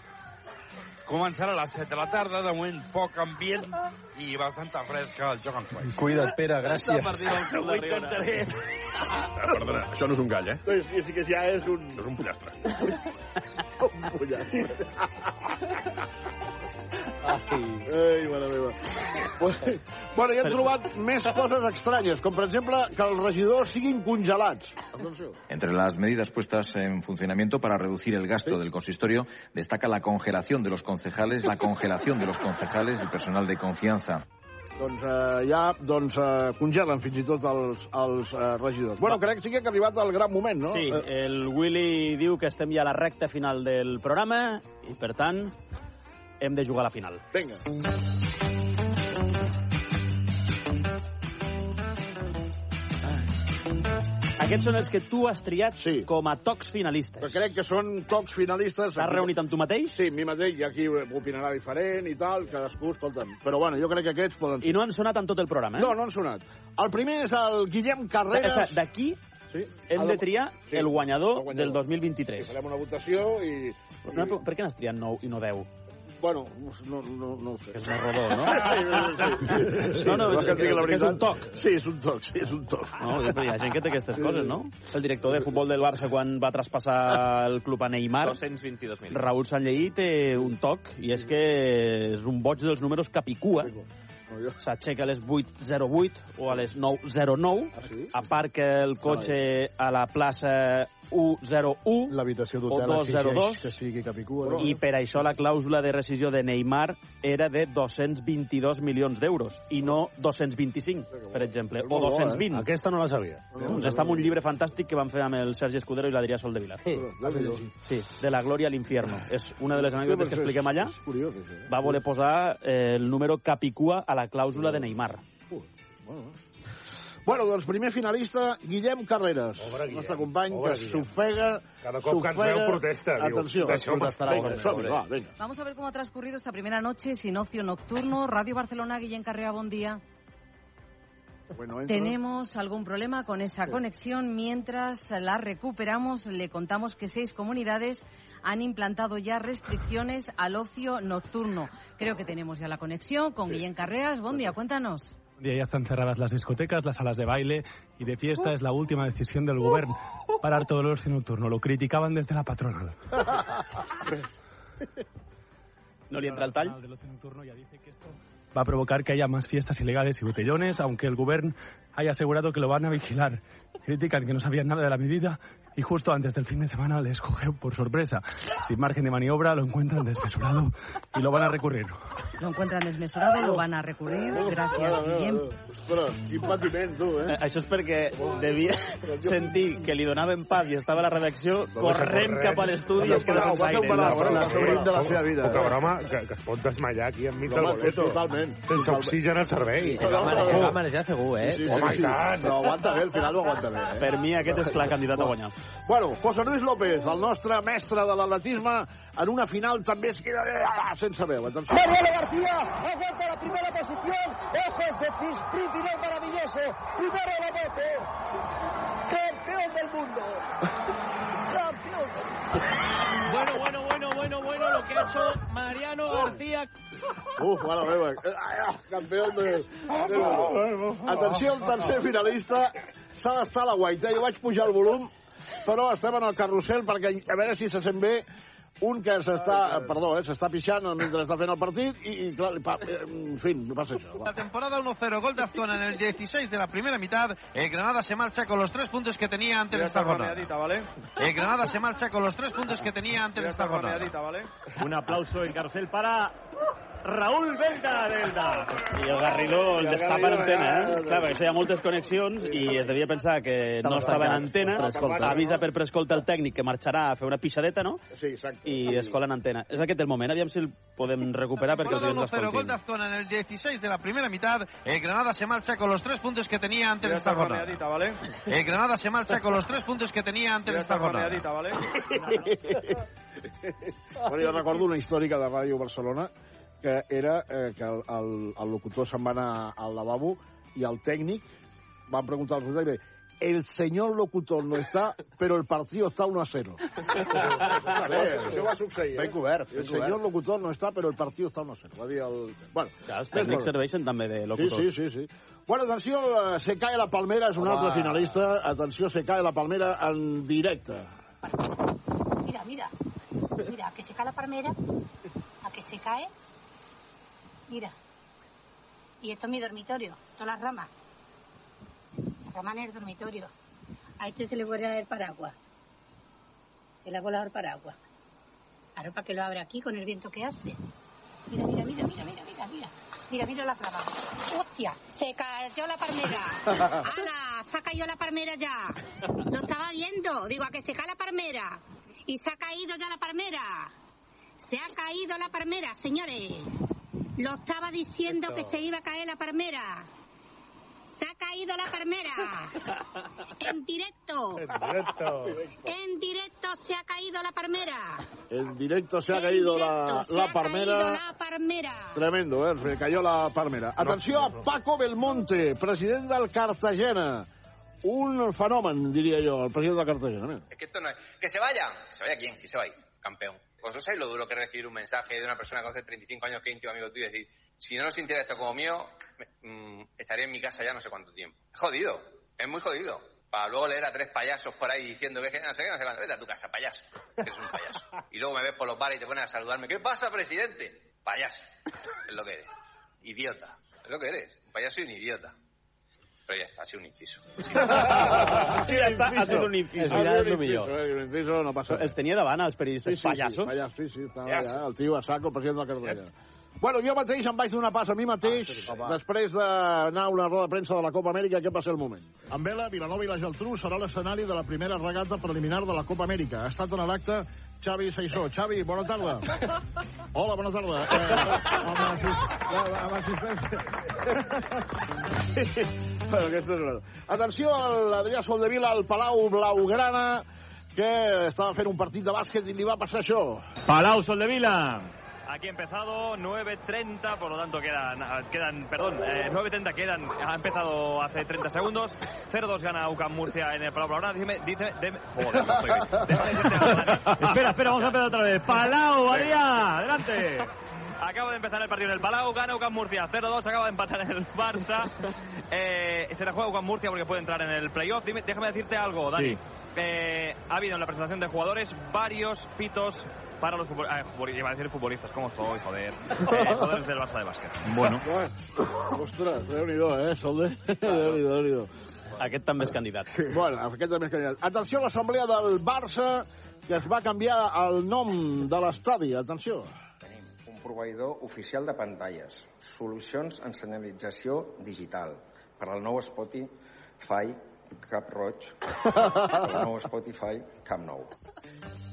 Speaker 16: començarà a les 7 de la tarda, de moment poc ambient i bastanta fresca el joc en quai.
Speaker 39: Cuida't, Pere, gràcies.
Speaker 53: Ho intentaré.
Speaker 6: Ah, Perdona, això no és un gall, eh?
Speaker 4: No, és, és que ja és un...
Speaker 6: Això és un pollastre.
Speaker 4: un pollastre. Ai, mare meva. Bueno, ja hem trobat més coses estranyes, com per exemple que els regidors siguin congelats. Atenció.
Speaker 15: Entre las medidas puestas en funcionamiento para reducir el gasto del consistorio destaca la congelación de los concejales, la congelación de los concejales y personal de confianza.
Speaker 4: Doncs eh, ja doncs, eh, congelen fins i tot els, els eh, regidors. Bueno, crec que sí que ha arribat el gran moment, no?
Speaker 2: Sí,
Speaker 4: Eh,
Speaker 2: el Willy diu que estem ja a la recta final del programa i, per tant, hem de jugar a la final.
Speaker 4: Vinga.
Speaker 2: Aquests són els que tu has triat sí. com a tocs finalistes.
Speaker 4: Però crec que són tocs finalistes...
Speaker 2: T'has reunit amb tu mateix?
Speaker 4: Sí, mi mateix, i aquí opinarà diferent i tal, cadascú, uh, escolta'm. Però bueno, jo crec que aquests poden...
Speaker 2: I no han sonat en tot el programa, eh?
Speaker 4: No, no han sonat. El primer és el Guillem Carreras.
Speaker 2: Espera, D'aquí
Speaker 4: sí.
Speaker 2: hem de triar
Speaker 4: Sí.
Speaker 2: el, guanyador
Speaker 4: El guanyador.
Speaker 2: del 2023.
Speaker 4: Farem una votació i...
Speaker 2: No, però per què n'has triat 9 i no 10?
Speaker 4: Bueno, no, no, no ho sé. És
Speaker 2: més rodó, no?
Speaker 4: Sí, sí.
Speaker 2: No, no,
Speaker 4: Vol que et digui la
Speaker 2: que és un
Speaker 4: veritat?
Speaker 2: toc.
Speaker 4: Sí, és un toc, sí, és un toc.
Speaker 2: No, però hi ha gent que té aquestes coses, no? El director de futbol del Barça, quan va traspassar el club a Neymar,
Speaker 1: 222.000.
Speaker 2: Raúl Sanlleí té un toc, i és que és un boig dels números capicua.
Speaker 7: Oh,
Speaker 2: S'aixeca a les 8.08 o a les
Speaker 7: Ah,
Speaker 2: 9.09, a part que el cotxe a la plaça 101
Speaker 7: L'habitació
Speaker 2: o
Speaker 7: d'hotel exigeix
Speaker 2: 202
Speaker 7: que sigui Capicua.
Speaker 2: i per això la clàusula de rescisió de Neymar era de 222 milions d'euros i no 225, per exemple, o
Speaker 7: molt bo, eh?
Speaker 2: 220.
Speaker 7: Aquesta no la sabia.
Speaker 2: Doncs està en un llibre fantàstic que van fer amb el Sergi Escudero i l'Adrià Sol de Vila. Sí, sí, de la glòria a l'infierno. És una de les anècdotes que expliquem allà.
Speaker 4: És curiós, això.
Speaker 2: Va voler posar eh, el número capicua a la clàusula de Neymar.
Speaker 4: Bueno, doncs primer finalista, Guillem Carreras, Pobre Guillem. nostre company,
Speaker 2: Pobre
Speaker 4: que
Speaker 2: Guillem.
Speaker 4: s'ofega...
Speaker 2: Cada cop que ens veu
Speaker 4: s'ofega.
Speaker 2: protesta, diu,
Speaker 4: Atenció.
Speaker 2: "Deixeu protestar a
Speaker 4: Vinga,
Speaker 2: Gómez,
Speaker 4: som-hi,
Speaker 2: hombre".
Speaker 4: va, vinga.
Speaker 8: Vamos a ver cómo ha transcurrido esta primera noche sin ocio nocturno. Radio Barcelona, Guillén Carrera, buen día.
Speaker 4: Bueno, entro.
Speaker 8: Tenemos algún problema con esa conexión. Mientras la recuperamos, le contamos que seis comunidades han implantado ya restricciones al ocio nocturno. Creo que tenemos ya la conexión con Guillén Carreras. Buen día, cuéntanos.
Speaker 9: Y ya están cerradas las discotecas, las salas de baile y de fiesta. Es la última decisión del gobierno parar todo el ocio nocturno. Lo criticaban desde la patronal.
Speaker 2: No li entra el tall?
Speaker 9: Va a provocar que haya más fiestas ilegales y botellones, aunque el gobierno haya asegurado que lo van a vigilar. Critican que no sabían nada de la medida y justo antes del fin de semana les cogió por sorpresa. Sin margen de maniobra lo encuentran desmesurado y lo van a recurrir.
Speaker 8: Lo encuentran desmesurado, lo van a recurrir. Gracias, Guillén.
Speaker 4: Ostres, quin patiment, tu, eh?
Speaker 2: Això és perquè devia sentir que li donaven pas i estava a la redacció, correm cap a l'estudi i es queda sense aire.
Speaker 10: la
Speaker 2: Correm
Speaker 10: de la seva
Speaker 2: eh?
Speaker 10: vida. Poca broma, que, que es pot desmallar aquí enmig del
Speaker 4: Home,
Speaker 10: boleto.
Speaker 4: totalment.
Speaker 10: Sense oxigen al cervell.
Speaker 2: Es va manejar- es va manejar
Speaker 10: segur,
Speaker 2: eh? Sí, sí,
Speaker 10: Home,
Speaker 2: sí,
Speaker 10: i
Speaker 2: sí.
Speaker 10: tant.
Speaker 4: No, aguanta bé, al final ho aguanta bé. Eh?
Speaker 2: Per mi aquest és clar candidat a guanyar.
Speaker 4: Bueno, José Luis López, el nostre mestre de l'atletisme, en una final també es queda eh, ah, sense veu. Atenció.
Speaker 16: Manuel García aguanta la primera posición. Ojos de Pisprint es maravilloso. Primero la moto. Campeón del mundo. Campeón.
Speaker 1: Bueno, bueno, bueno, bueno, bueno, lo que ha hecho Mariano García.
Speaker 4: Uf, mare meva. Eh, ah, campió de... de... Atenció, el tercer finalista s'ha d'estar a la guaita. Jo vaig pujar el volum, però estem en el carrusel perquè a veure si se sent bé un que s'està, eh, perdó, eh, s'està pixant mentre està fent el partit i, i clar, li pa, eh, en fi, li passa això.
Speaker 42: La temporada 1-0, gol de Azcona en el 16 de la primera mitad. El Granada se marcha con los tres puntos que tenía antes de esta jornada. El Granada se marcha con los tres puntos que tenía antes de esta jornada.
Speaker 1: Un aplauso en carcel para Raúl Belda Delda.
Speaker 2: I el Garrido el destapa en antena, eh? Clar, perquè això hi ha moltes connexions i es devia pensar que no estava en antena,
Speaker 4: Preescolta.
Speaker 2: avisa per prescolta el tècnic que marxarà a fer una pixadeta, no?
Speaker 4: Sí, exacte.
Speaker 2: I es cola en antena. És aquest el moment, aviam si el podem recuperar perquè els
Speaker 42: Temporada
Speaker 2: dius
Speaker 42: 1-0, gol
Speaker 2: l'escoltin.
Speaker 42: de Azcona en el 16 de la primera mitad. El Granada se marcha con los tres puntos que tenía antes de esta jornada. El Granada se marcha con los tres puntos que tenía antes de esta jornada.
Speaker 4: Bueno, jo recordo una històrica de Ràdio Barcelona que era eh, que el, el, el locutor se'n va anar al lavabo i el tècnic van preguntar al tècnic el senyor locutor no està, però el partit està 1 a 0. eh,
Speaker 10: Això va succeir.
Speaker 4: Ben cobert. El senyor locutor no està, però el partit està 1 a 0. Va dir el... Bueno,
Speaker 2: Els tècnics serveixen també de locutors.
Speaker 4: Sí, sí, sí. sí. Bueno, atenció, eh, se cae la palmera, és un
Speaker 2: Home.
Speaker 4: altre finalista. Atenció, se cae la palmera en directe.
Speaker 48: Mira, mira. Mira, a que se cae la palmera, a que se cae. Mira. Y esto es mi dormitorio, todas las ramas. Las ramas en el dormitorio. A este se le vuelve el paraguas. Se le ha volado el paraguas. Ahora para que lo abra aquí con el viento que hace. Mira, mira, mira, mira, mira, mira, mira. Mira, mira las ramas. ¡Hostia! Se cayó la palmera. ¡Hala! Se ha caído la palmera ya. Lo estaba viendo. Digo, a que se cae la palmera. Y se ha caído ya la palmera. Se ha caído la palmera, señores. Lo estaba diciendo Esto. que se iba a caer la palmera. Se ha caído la palmera. En directo. En directo se ha caído la palmera.
Speaker 4: En directo se ha caído la,
Speaker 48: Se
Speaker 4: la
Speaker 48: ha caído
Speaker 4: palmera.
Speaker 48: la palmera.
Speaker 4: Tremendo, eh? Se cayó la palmera. Atenció a Paco Belmonte, president del Cartagena. Un fenomen, diria jo, el president del Cartagena. eh. Mira.
Speaker 11: Es que esto no es. ¡Que se vaya! ¿Que se vaya quién? ¿Que se vaya? Campeón.
Speaker 10: ¿Vosotros sabéis lo duro que es recibir un mensaje de una persona que hace 35 años que es íntimo amigo tuyo y decir, si no nos interesa esto como mío, me- mm, estaría en mi casa ya no sé cuánto tiempo? Es jodido, es muy jodido. Para luego leer a tres payasos por ahí diciendo que es que no sé qué, no sé cuánto. Vete a tu casa, payaso. Eres un payaso. Y luego me ves por los bares y te pones a saludarme. ¿Qué pasa, presidente? Payaso. Es lo que eres. Idiota. Es lo que eres. Un payaso y un idiota. Pero ya está, ha sido un inciso.
Speaker 1: Sí, ja està, ha sigut un
Speaker 4: Ha
Speaker 1: inciso.
Speaker 4: sigut
Speaker 1: Al final és
Speaker 4: un
Speaker 1: el millor.
Speaker 4: inciso, eh, un inciso, no passa
Speaker 1: Els tenia davant, els periodistes
Speaker 4: Sí,
Speaker 1: pallassos.
Speaker 4: pallasso, sí, sí, estava
Speaker 1: Yes.
Speaker 4: allà, el tio a saco, el president de la Cardella. Bueno, jo mateix em vaig donar pas a mi mateix després d'anar a una roda de premsa de la Copa Amèrica, què va ser el moment? Amb Vela, Vilanova i la Geltrú serà l'escenari de la primera regata preliminar de la Copa Amèrica. Ha estat en l'acte Xavi Saissó. Xavi, bona tarda. Hola, bona tarda. Eh, amb assist- eh, amb assistència. bueno, aquesta és una... Atenció a l'Adrià Soldevila al Palau Blaugrana, que estava fent un partit de bàsquet i li va passar això.
Speaker 2: Palau Soldevila. Aquí ha empezado 9.30, por lo tanto quedan, ah, quedan perdón, eh, 9.30 quedan, ha empezado hace 30 segundos, 0-2 gana UCAM Murcia en el Palau Blaugrana, dime, dice, deme- joder, no estoy bien. Déjame decirte ahora, ¿eh?
Speaker 54: Espera, espera, vamos a empezar otra vez. Palau,
Speaker 2: Sí.
Speaker 54: Adrià, adelante.
Speaker 2: Acaba de empezar el partido en el Palau, gana UCAM Murcia 0-2, acaba de empatar el Barça. Eh, se la juega UCAM Murcia porque puede entrar en el playoff. Dime- déjame decirte algo, Dani.
Speaker 55: Sí.
Speaker 2: Eh, ha habido en la presentación de jugadores varios pitos para los futbolistas. iba a decir futbolistas, ¿cómo estoy? Joder. Eh, jugadores del Barça de básquet.
Speaker 1: Bueno.
Speaker 4: Ostres, déu-n'hi-do, eh, Solde? Déu-n'hi-do, déu-n'hi-do.
Speaker 1: Aquest també és candidat.
Speaker 4: Bueno, aquest també és candidat. Atenció a l'assemblea del Barça, que es va canviar el nom de l'estadi. Atenció.
Speaker 15: un proveïdor oficial de pantalles, solucions en senyalització digital per al nou Spotify Cap Roig, per al nou Spotify Camp Nou.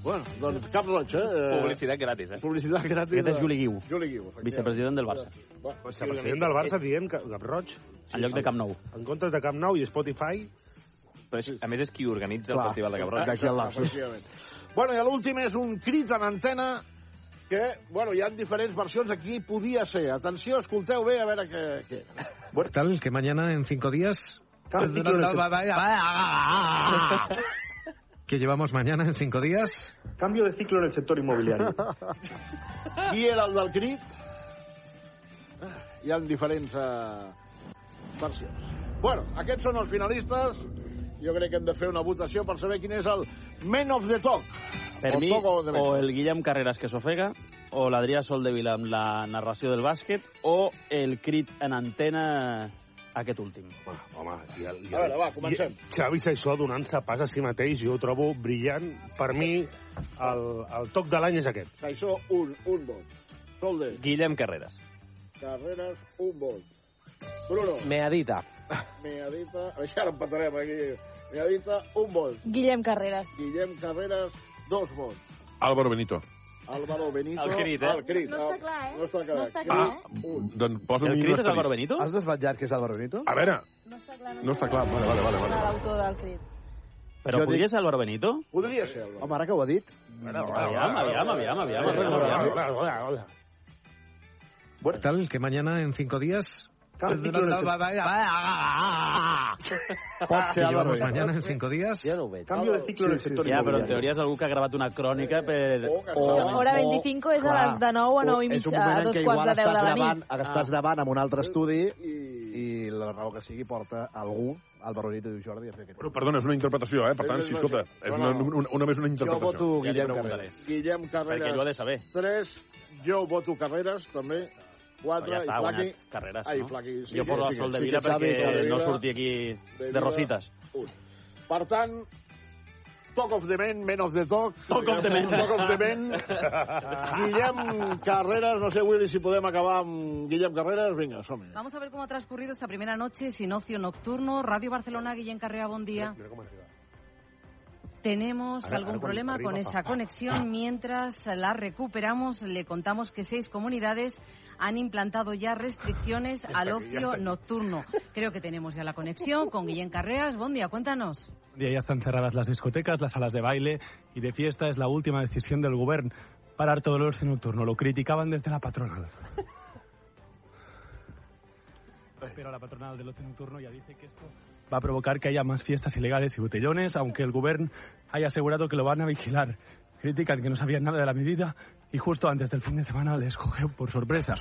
Speaker 4: Bueno, doncs cap roig, eh?
Speaker 2: Publicitat gratis, eh?
Speaker 4: Publicitat gratis.
Speaker 1: Aquest és Juli Guiu.
Speaker 4: Juli Guiu, efectivament.
Speaker 1: Vicepresident del Barça.
Speaker 4: Bueno,
Speaker 7: Vicepresident del Barça dient que Cap Roig...
Speaker 1: En lloc de Camp Nou.
Speaker 7: En comptes de Camp Nou i Spotify...
Speaker 51: Però és, Pues, a més és qui organitza
Speaker 4: Clar,
Speaker 51: el Festival de Cabrons.
Speaker 4: d'aquí al Barça. Efectivament. Bueno, i l'últim és un crit en antena que, bueno, hi ha diferents versions de qui podia ser. Atenció, escolteu bé a veure què... què.
Speaker 51: ¿Qué tal? Que mañana en cinco días. Pues
Speaker 4: Claro,
Speaker 51: No,
Speaker 4: sí, claro,
Speaker 51: no,
Speaker 4: sí.
Speaker 51: va, va, va. Que llevamos mañana en cinco días. Cambio de ciclo en el sector inmobiliario.
Speaker 4: Qui era el del crit? Hi ha diferents eh, versions. Bueno, aquests són els finalistes. Jo crec que hem de fer una votació per saber quin és el Man of the Talk.
Speaker 1: Per
Speaker 4: O
Speaker 1: mi,
Speaker 4: Talk of the Man.
Speaker 1: o el Guillem Carreras que s'ofega, o l'Adrià Soldevila amb la narració del bàsquet, o el crit en antena aquest últim.
Speaker 7: Home, i el,
Speaker 4: A veure, va, comencem.
Speaker 7: I Xavi Saissó donant-se pas a si mateix, jo ho trobo brillant. Per mi, el, el toc de l'any és aquest.
Speaker 4: Això, un, un vot. Solde,
Speaker 51: Guillem Carreras.
Speaker 4: Carreras, un vot. Bruno,
Speaker 51: Meadita.
Speaker 4: Meadita, això ara empatarem aquí. Meadita, un vot.
Speaker 56: Guillem Carreras.
Speaker 4: Guillem Carreras, dos vots.
Speaker 6: Álvaro Benito.
Speaker 4: Álvaro Benito,
Speaker 6: El crit, eh?
Speaker 4: El crit.
Speaker 56: No està
Speaker 4: clar, eh? No està clar.
Speaker 56: No està clar, eh?
Speaker 6: Doncs posa mi un asterisc.
Speaker 51: Has desvetllat que és Álvaro Benito?
Speaker 6: A veure, no està clar. Vale, vale, vale. vale.
Speaker 56: L'autor del crit.
Speaker 1: Però podria ser Álvaro Benito?
Speaker 56: eh?
Speaker 4: Podria ser.
Speaker 51: Home, ara que ho ha dit...
Speaker 1: Aviam, aviam, aviam, aviam. aviam.
Speaker 51: ¿Qué tal? Que mañana en cinco días. Cambio de ciclo en el Pot ser Que Álvaro
Speaker 54: pues,
Speaker 51: llevamos Benito. mañana en cinco días. Ya no Cambio de ciclo en el sector
Speaker 1: Ja, però en
Speaker 51: inmobiliari.
Speaker 1: teoria és algú que ha gravat una crònica per... Oh,
Speaker 56: Hora 25 és a les de 9 a 9 i
Speaker 1: és un
Speaker 56: mitja, a
Speaker 1: moment en
Speaker 56: dos
Speaker 1: què
Speaker 56: quarts
Speaker 1: igual
Speaker 56: de 10 de la
Speaker 1: davant-
Speaker 56: nit.
Speaker 1: Ah.
Speaker 51: Ara estàs davant amb un altre estudi i la raó que sigui porta algú al baronito diu Jordi a fer aquest...
Speaker 6: Però, perdona, és una interpretació, eh? Per tant, sí, escolta, és una, una, una, més una interpretació.
Speaker 51: voto
Speaker 6: Ja li
Speaker 51: Guillem
Speaker 6: preguntaré.
Speaker 51: Carreras.
Speaker 4: Guillem Carreras.
Speaker 1: Perquè ell ho ha de saber.
Speaker 4: 3, jo voto Carreras, també. 4,
Speaker 1: Però ja està,
Speaker 4: i
Speaker 1: ha
Speaker 4: Flaqui.
Speaker 1: guanyat Carreras,
Speaker 4: Ai,
Speaker 1: no?
Speaker 4: Flaqui. Sí,
Speaker 1: Jo
Speaker 4: sí,
Speaker 1: poso
Speaker 4: sí,
Speaker 1: el
Speaker 4: sí,
Speaker 1: Sol de
Speaker 4: sí,
Speaker 1: Vila
Speaker 4: que Xavi,
Speaker 1: perquè
Speaker 4: Xavi
Speaker 1: no
Speaker 4: Vila,
Speaker 1: surti aquí de
Speaker 4: Vila,
Speaker 1: rositas.
Speaker 4: un. Per tant, Talk of the Men, Men of the Talk.
Speaker 1: Talk of the Men.
Speaker 4: Talk of the Men. Guillem Carreras, no sé, Willy, si podem acabar amb Guillem Carreras. Vinga, som-hi.
Speaker 8: Vamos a ver cómo ha transcurrido esta primera noche sin ocio nocturno. Radio Barcelona, Guillén Carrea, buen día. Tenemos
Speaker 56: Ahora-
Speaker 8: algún
Speaker 56: ahora
Speaker 8: problema
Speaker 56: arriba,
Speaker 8: con
Speaker 56: pa-
Speaker 8: esa conexión. Mientras la recuperamos, le contamos que seis comunidades han implantado ya restricciones
Speaker 9: aquí,
Speaker 8: al
Speaker 9: ya está
Speaker 8: ocio
Speaker 9: aquí.
Speaker 8: nocturno. Creo que tenemos ya la conexión con Guillén Carreas. Buen día, cuéntanos.
Speaker 9: Y ya están cerradas las discotecas, las salas de baile y de fiesta. Es la última decisión del gobierno parar todo el ocio nocturno. Lo criticaban desde la patronal. Pero la patronal del ocio nocturno ya dice que esto... Va a provocar que haya más fiestas ilegales y botellones, aunque el gobierno haya asegurado que lo van a vigilar. critican que no sabían nada de la medida y justo antes del fin de semana les cogió por sorpresa.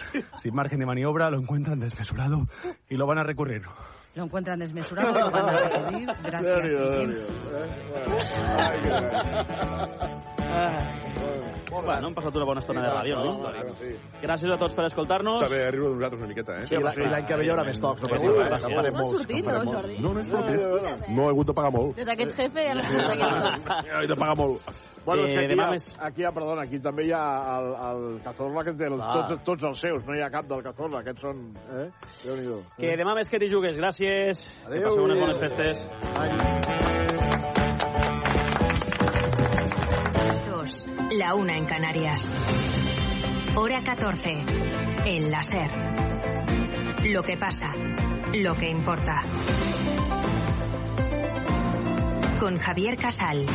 Speaker 9: Sin margen de maniobra lo encuentran desmesurado y lo van a recurrir.
Speaker 1: Lo encuentran desmesurado, lo van a recibir. Gracias.
Speaker 9: Diario,
Speaker 1: Miguel.
Speaker 2: Bueno, hem passat una bona estona de ràdio, no? Gràcies a tots per escoltar-nos.
Speaker 6: Està bé, riure d'un rato una miqueta, eh?
Speaker 2: Sí, va, sí, l'any que ve hi haurà més tocs, no passa
Speaker 6: Sí,
Speaker 2: res,
Speaker 6: sí,
Speaker 2: no
Speaker 6: sí.
Speaker 2: farem
Speaker 8: No ha molts, sortit, no farem no, molts. Jordi?
Speaker 6: No, no he sortit.
Speaker 8: Mira,
Speaker 6: No he hagut de pagar molt.
Speaker 8: Des d'aquests jefe ja no surt d'aquests dos.
Speaker 4: He de pagar molt. Bueno, és
Speaker 6: Eh,
Speaker 4: que aquí,
Speaker 6: demà
Speaker 4: hi ha,
Speaker 6: més.
Speaker 4: aquí hi ha, perdona, aquí també hi ha el, el Cazorla, que té el,
Speaker 2: Ah.
Speaker 4: tots, tots els seus, no hi ha cap del Cazorla, aquests són... Eh? Déu-n'hi-do.
Speaker 2: Que demà més que t'hi jugues. Gràcies.
Speaker 4: Adéu.
Speaker 2: Que passeu unes bones festes.
Speaker 29: Dos, la una en Canarias. Hora 14, en la SER. Lo que pasa, lo que importa. Con Javier Casal.